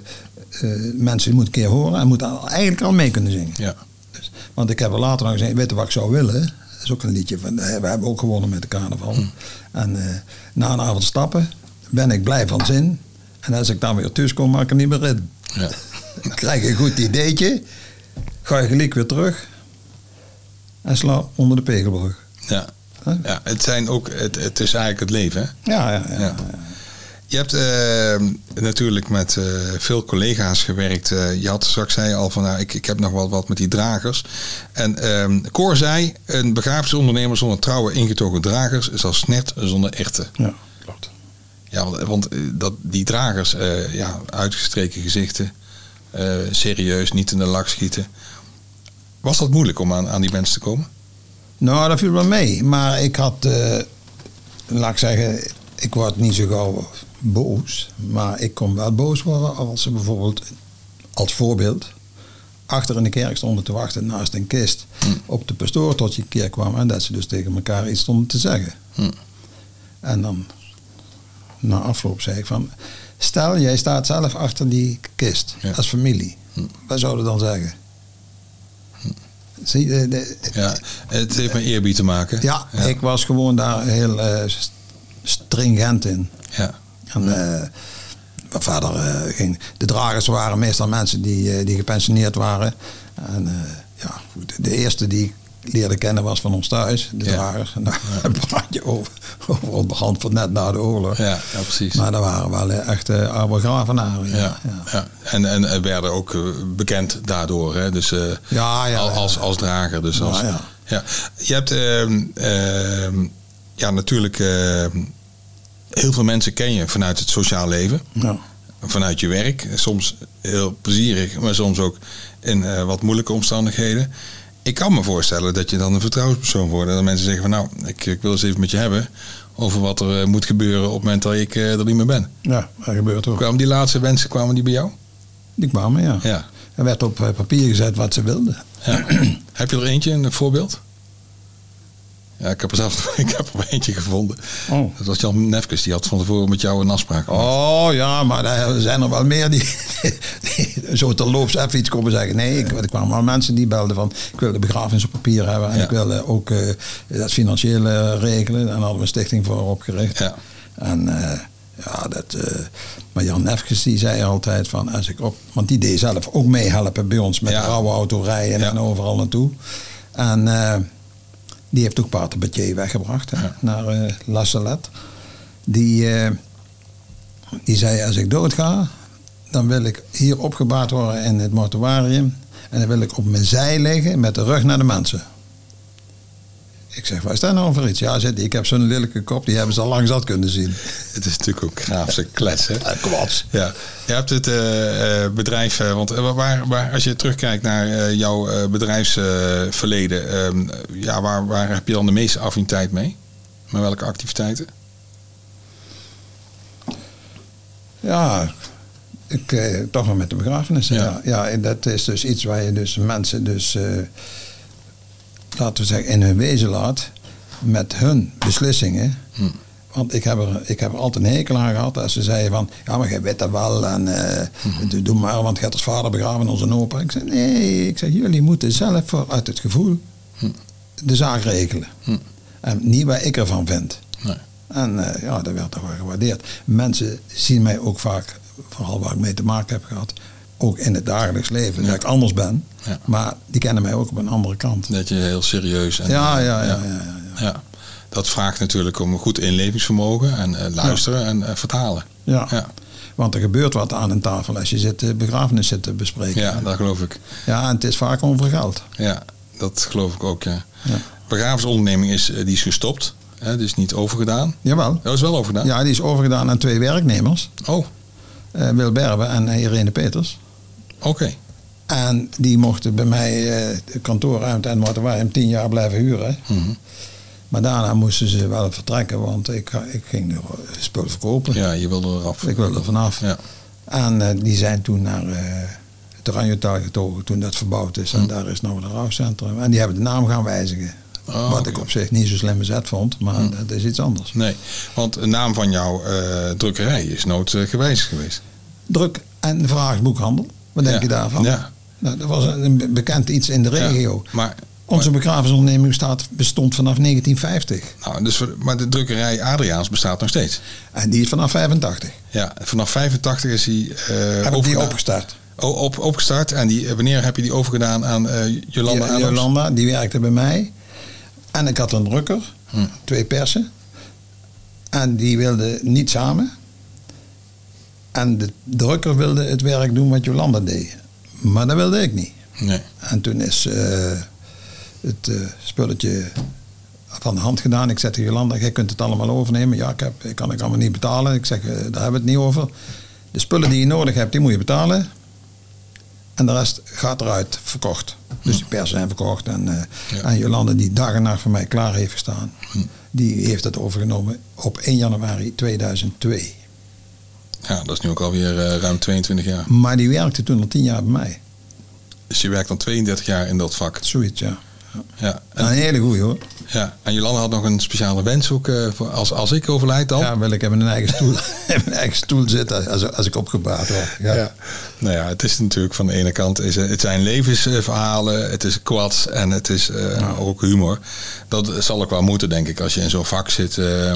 Speaker 1: mensen moet een keer horen en moet al- eigenlijk al mee kunnen zingen.
Speaker 2: Ja.
Speaker 1: Dus, want ik heb er later nog gezegd, weet je wat ik zou willen? Dat is ook een liedje van, eh, we hebben ook gewonnen met de carnaval.
Speaker 2: Hm.
Speaker 1: En eh, na een avond stappen ben ik blij van zin. En als ik dan weer thuis kom, maak ik er niet meer in.
Speaker 2: Ja.
Speaker 1: Dan krijg je een goed ideetje. Ga je gelijk weer terug. En sla onder de pegelbrug.
Speaker 2: Ja.
Speaker 1: Huh?
Speaker 2: Ja, het, zijn ook, het, het is eigenlijk het leven, hè?
Speaker 1: Ja, ja, ja.
Speaker 2: Ja. Je hebt eh, natuurlijk met eh, veel collega's gewerkt. Eh, je had straks zei je al van, nou, ik, ik heb nog wel wat met die dragers. En ehm Cor zei, een begrafenisondernemer zonder trouwe ingetogen dragers is als net zonder echte.
Speaker 1: ja klopt.
Speaker 2: Ja, want, want, eh, dat, die dragers, eh, ja, uitgestreken gezichten, eh, serieus, niet in de lak schieten. Was dat moeilijk om aan, aan die mensen te komen?
Speaker 1: Nou, dat viel wel mee. Maar ik had, eh, laat ik zeggen, ik word niet zo gauw boos. Maar ik kon wel boos worden als ze bijvoorbeeld, als voorbeeld, achter in de kerk stonden te wachten naast een kist
Speaker 2: Hm.
Speaker 1: op de pastoor tot je keer kwam. En dat ze dus tegen elkaar iets stonden te zeggen.
Speaker 2: Hm.
Speaker 1: En dan, na afloop, zei ik van, stel jij staat zelf achter die kist
Speaker 2: Ja.
Speaker 1: als familie.
Speaker 2: Hm.
Speaker 1: Wat zouden dan zeggen? Zie je, de- de-
Speaker 2: Ja, het heeft met eerbied te maken.
Speaker 1: ja,
Speaker 2: ja.
Speaker 1: ik was gewoon daar heel eh, st- stringent in.
Speaker 2: Ja.
Speaker 1: En eh, maar verder eh, ging... De dragers waren meestal mensen die, eh, die gepensioneerd waren. En eh, ja, goed, de eerste die leerde kennen was van ons thuis, de
Speaker 2: Ja.
Speaker 1: dragers. Nou, dan praat je over, over onderhand van net na de oorlog.
Speaker 2: Ja, ja, precies.
Speaker 1: Maar dat waren wel eh, echte oude gravenaren. Ja,
Speaker 2: ja, ja. En, en eh, werden ook eh, bekend daardoor. Hè? Dus, eh,
Speaker 1: Ja, ja,
Speaker 2: al-
Speaker 1: ja.
Speaker 2: Als, als drager. Dus als,
Speaker 1: Ja, ja.
Speaker 2: Ja. Je hebt ehm, ehm, ja, natuurlijk ehm, heel veel mensen ken je vanuit het sociaal leven.
Speaker 1: Ja.
Speaker 2: vanuit je werk. Soms heel plezierig, maar soms ook in eh, wat moeilijke omstandigheden. Ik kan me voorstellen dat je dan een vertrouwenspersoon wordt. En dat mensen zeggen van nou, ik, ik wil eens even met je hebben over wat er eh, moet gebeuren op het moment dat ik eh, er niet meer ben.
Speaker 1: Ja, dat gebeurt ook.
Speaker 2: Kwamen die laatste wensen, kwamen die bij jou?
Speaker 1: Die kwamen, ja.
Speaker 2: Ja.
Speaker 1: Er werd op eh, papier gezet wat ze wilden.
Speaker 2: ja. heb je er eentje, een voorbeeld? Ja, ik heb er zelf ik heb er eentje gevonden.
Speaker 1: Oh.
Speaker 2: Dat was Jan Nefkes, die had van tevoren met jou een afspraak. gemaakt.
Speaker 1: Oh ja, maar er zijn er wel meer die, die zo terloops even iets komen zeggen. Nee, ik, er kwamen wel mensen die belden van ik wil de begrafenis op papier hebben en
Speaker 2: Ja.
Speaker 1: ik wil eh, ook eh, dat financiële regelen. En daar hadden we een stichting voor opgericht.
Speaker 2: Ja.
Speaker 1: En eh, ja, dat, eh, maar Jan Nefkes die zei altijd van als ik op, want die deed zelf ook meehelpen bij ons met
Speaker 2: Ja.
Speaker 1: rauwe autorijden
Speaker 2: Ja.
Speaker 1: en overal naartoe. En eh, die heeft ook Pater Batier weggebracht hè,
Speaker 2: Ja.
Speaker 1: naar eh La Salette. Die, eh, die zei, als ik doodga, dan wil ik hier opgebaard worden in het mortuarium. En dan wil ik op mijn zij liggen met de rug naar de mensen. Ik zeg, wat is dat nou voor iets? Ja, zegt hij, ik heb zo'n lelijke kop, die hebben ze al lang zat kunnen zien.
Speaker 2: Het is natuurlijk ook graafse klets, hè?
Speaker 1: Eh, Kwats.
Speaker 2: Ja, je hebt het eh, eh, bedrijf, eh, want eh, waar, waar, als je terugkijkt naar eh, jouw eh, bedrijfsverleden, ehm, ja, waar, waar heb je dan de meeste affiniteit mee? Met welke activiteiten?
Speaker 1: Ja, ik, eh, toch wel met de begrafenis. Ja.
Speaker 2: Ja.
Speaker 1: Ja. en dat is dus iets waar je dus mensen dus, eh, laten we zeggen, in hun wezen laat. Met hun beslissingen.
Speaker 2: Hm.
Speaker 1: Want ik heb, er, ik heb er altijd een hekel aan gehad als ze zeiden van... Ja, maar jij weet dat wel en eh,
Speaker 2: Hm.
Speaker 1: doe- doe maar, want je hebt als vader begraven en onze opa. Ik zei, nee, ik zeg, jullie moeten zelf vanuit het gevoel
Speaker 2: Hm.
Speaker 1: de zaak regelen.
Speaker 2: Hm.
Speaker 1: En niet waar ik ervan vind.
Speaker 2: Nee.
Speaker 1: En eh, ja, dat werd toch wel gewaardeerd. Mensen zien mij ook vaak, vooral waar ik mee te maken heb gehad... ook in het dagelijks leven,
Speaker 2: Ja.
Speaker 1: dat ik anders ben.
Speaker 2: Ja.
Speaker 1: Maar die kennen mij ook op een andere kant.
Speaker 2: Dat je heel serieus en
Speaker 1: Ja, ja, ja.
Speaker 2: ja.
Speaker 1: ja, ja, ja.
Speaker 2: ja. dat vraagt natuurlijk om een goed inlevingsvermogen en eh, luisteren en eh, vertalen.
Speaker 1: Ja.
Speaker 2: Ja.
Speaker 1: Want er gebeurt wat aan een tafel als je zit, eh, begrafenis zit te bespreken.
Speaker 2: Ja, dat geloof ik.
Speaker 1: Ja, en het is vaak over geld.
Speaker 2: Ja, dat geloof ik ook. Ja.
Speaker 1: Ja.
Speaker 2: Begrafenisonderneming is, eh, die is gestopt, hè, dus niet overgedaan.
Speaker 1: Jawel.
Speaker 2: Dat is wel overgedaan.
Speaker 1: Ja, die is overgedaan aan twee werknemers.
Speaker 2: Oh,
Speaker 1: eh, Wil Berbe en Irene Peters.
Speaker 2: oké.
Speaker 1: En die mochten bij mij eh, de kantoorruimte en mortuarium tien jaar blijven huren.
Speaker 2: Mhm.
Speaker 1: Maar daarna moesten ze wel vertrekken, want ik, ga- ik ging de spul verkopen.
Speaker 2: Ja, je wilde eraf.
Speaker 1: Ik wilde er vanaf.
Speaker 2: Ja.
Speaker 1: En eh, die zijn toen naar eh, het Oranjetal getogen toen dat verbouwd is.
Speaker 2: Mhm.
Speaker 1: En daar is nou een rouwcentrum. En die hebben de naam gaan wijzigen.
Speaker 2: Oh,
Speaker 1: Wat
Speaker 2: oké. Mhm.
Speaker 1: ik op zich niet zo slim bezet vond, maar dat is iets anders.
Speaker 2: Nee, want de naam van jouw eh, drukkerij is nooit eh, gewijzigd geweest.
Speaker 1: Druk- en vraagboekhandel. Wat denk
Speaker 2: Ja.
Speaker 1: je daarvan?
Speaker 2: Ja.
Speaker 1: Nou, dat was een be- bekend iets in de regio.
Speaker 2: Ja, maar,
Speaker 1: Onze begrafenisonderneming staat, bestond vanaf 1950.
Speaker 2: nou, dus, voor- maar de drukkerij Adriaans bestaat nog steeds.
Speaker 1: En die is vanaf 85.
Speaker 2: Ja, vanaf 85 is die, eh
Speaker 1: Heb ik die
Speaker 2: overgedaan-
Speaker 1: opgestart.
Speaker 2: o- op, opgestart. En die, eh, wanneer heb je die overgedaan aan eh Jolanda
Speaker 1: Die-
Speaker 2: Adams?
Speaker 1: Jolanda, die werkte bij mij. En ik had een drukker,
Speaker 2: Hm.
Speaker 1: twee persen. En die wilden niet samen. En de drukker wilde het werk doen wat Jolanda deed. Maar dat wilde ik niet.
Speaker 2: Nee.
Speaker 1: En toen is eh, het eh, spulletje van de hand gedaan. Ik zeg tegen Jolanda, jij kunt het allemaal overnemen. Ja, ik, heb, ik kan ik allemaal niet betalen. Ik zeg, eh, daar hebben we het niet over. De spullen die je nodig hebt, die moet je betalen. En de rest gaat eruit, verkocht. Dus die persen zijn verkocht. En, eh,
Speaker 2: Ja.
Speaker 1: en Jolanda, die dag en nacht voor mij klaar heeft gestaan...
Speaker 2: Hm.
Speaker 1: die heeft het overgenomen op 1 januari 2002.
Speaker 2: Ja, dat is nu ook alweer eh, ruim 22 jaar.
Speaker 1: Maar die werkte toen al 10 jaar bij mij.
Speaker 2: Dus je werkt al 32 jaar in dat vak.
Speaker 1: Zoiets, ja.
Speaker 2: Ja. En,
Speaker 1: Een hele goeie, hoor.
Speaker 2: ja. en Jolanda had nog een speciale wens ook. eh, voor als, als ik overlijd dan.
Speaker 1: Ja, wil ik hebben een eigen stoel, in mijn eigen stoel zitten als, als ik opgebaard word. Ja.
Speaker 2: Ja. Nou ja, het is natuurlijk van de ene kant, is, eh, het zijn levensverhalen, het is kwads en het is eh, ook humor. Dat zal ook wel moeten, denk ik, als je in zo'n vak zit. eh,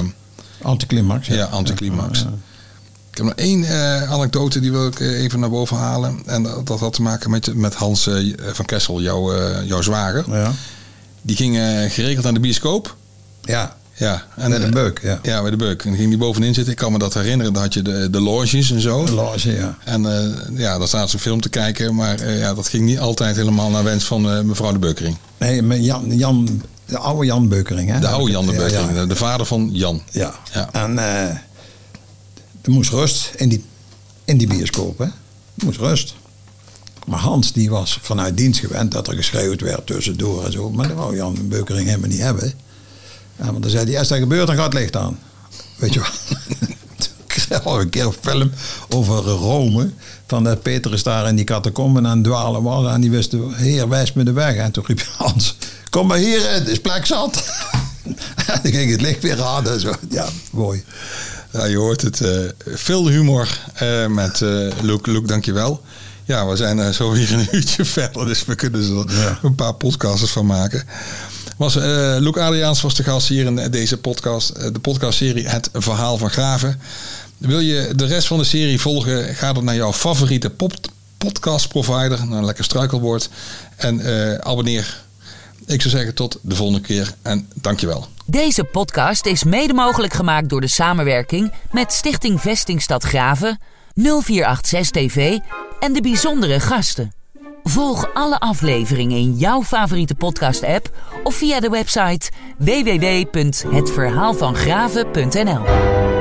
Speaker 1: Anticlimax.
Speaker 2: ja, anticlimax.
Speaker 1: Ja,
Speaker 2: Ik heb nog één eh, anekdote die wil ik eh, even naar boven halen. En dat, dat had te maken met, met Hans eh, van Kessel, jouw, eh, jouw zwager.
Speaker 1: ja.
Speaker 2: eh, Die ging eh, geregeld aan de bioscoop.
Speaker 1: Ja,
Speaker 2: Ja, en, eh,
Speaker 1: met een beuk. Ja.
Speaker 2: Ja, bij de beuk. En dan ging die bovenin zitten. Ik kan me dat herinneren. Dan had je de, de loges en zo.
Speaker 1: Een loge, ja.
Speaker 2: En eh, ja, daar zaten ze film te kijken. Maar eh, ja, dat ging niet altijd helemaal naar wens van eh, mevrouw de Beukering.
Speaker 1: Nee, maar Jan, Jan, de oude Jan Beukering. Hè?
Speaker 2: De oude Jan de
Speaker 1: Ja,
Speaker 2: Beukering. eh,
Speaker 1: Ja,
Speaker 2: de- De vader van Jan.
Speaker 1: ja.
Speaker 2: Ja.
Speaker 1: En eh, er moest rust in die, in die bioscoop. Hè? Er moest rust. Maar Hans die was vanuit dienst gewend dat er geschreeuwd werd tussendoor en zo. Maar dat wou Jan Beukering helemaal niet hebben. Ja, want dan zei hij, als dat gebeurt, dan gaat het licht aan. Weet je wel. Toen kreeg ik een keer een film over Rome. Van dat Petrus daar in die catacomben aan het dwalen was. En die wist, de- heer, wijs me de weg. En toen riep Hans, kom maar hier, het is plek zat. en dan ging het licht weer aan. En zo. Ja, mooi.
Speaker 2: Ja, je hoort het. eh, veel humor eh, met eh Luc. Luc, dankjewel. Ja, we zijn eh, zo weer een uurtje verder, dus we kunnen er
Speaker 1: Ja.
Speaker 2: een paar podcasts van maken. Was, eh Luc Adriaans was de gast hier in deze podcast, eh, de podcastserie Het Verhaal van Graven. Wil je de rest van de serie volgen, ga dan naar jouw favoriete pop- podcastprovider, naar een lekker struikelwoord, en eh, abonneer. Ik zou zeggen tot de volgende keer en dankjewel.
Speaker 3: Deze podcast is mede mogelijk gemaakt door de samenwerking met Stichting Vestingstad Graven, 0486 TV en de bijzondere gasten. Volg alle afleveringen in jouw favoriete podcast-app of via de website www.hetverhaalvangraven.nl.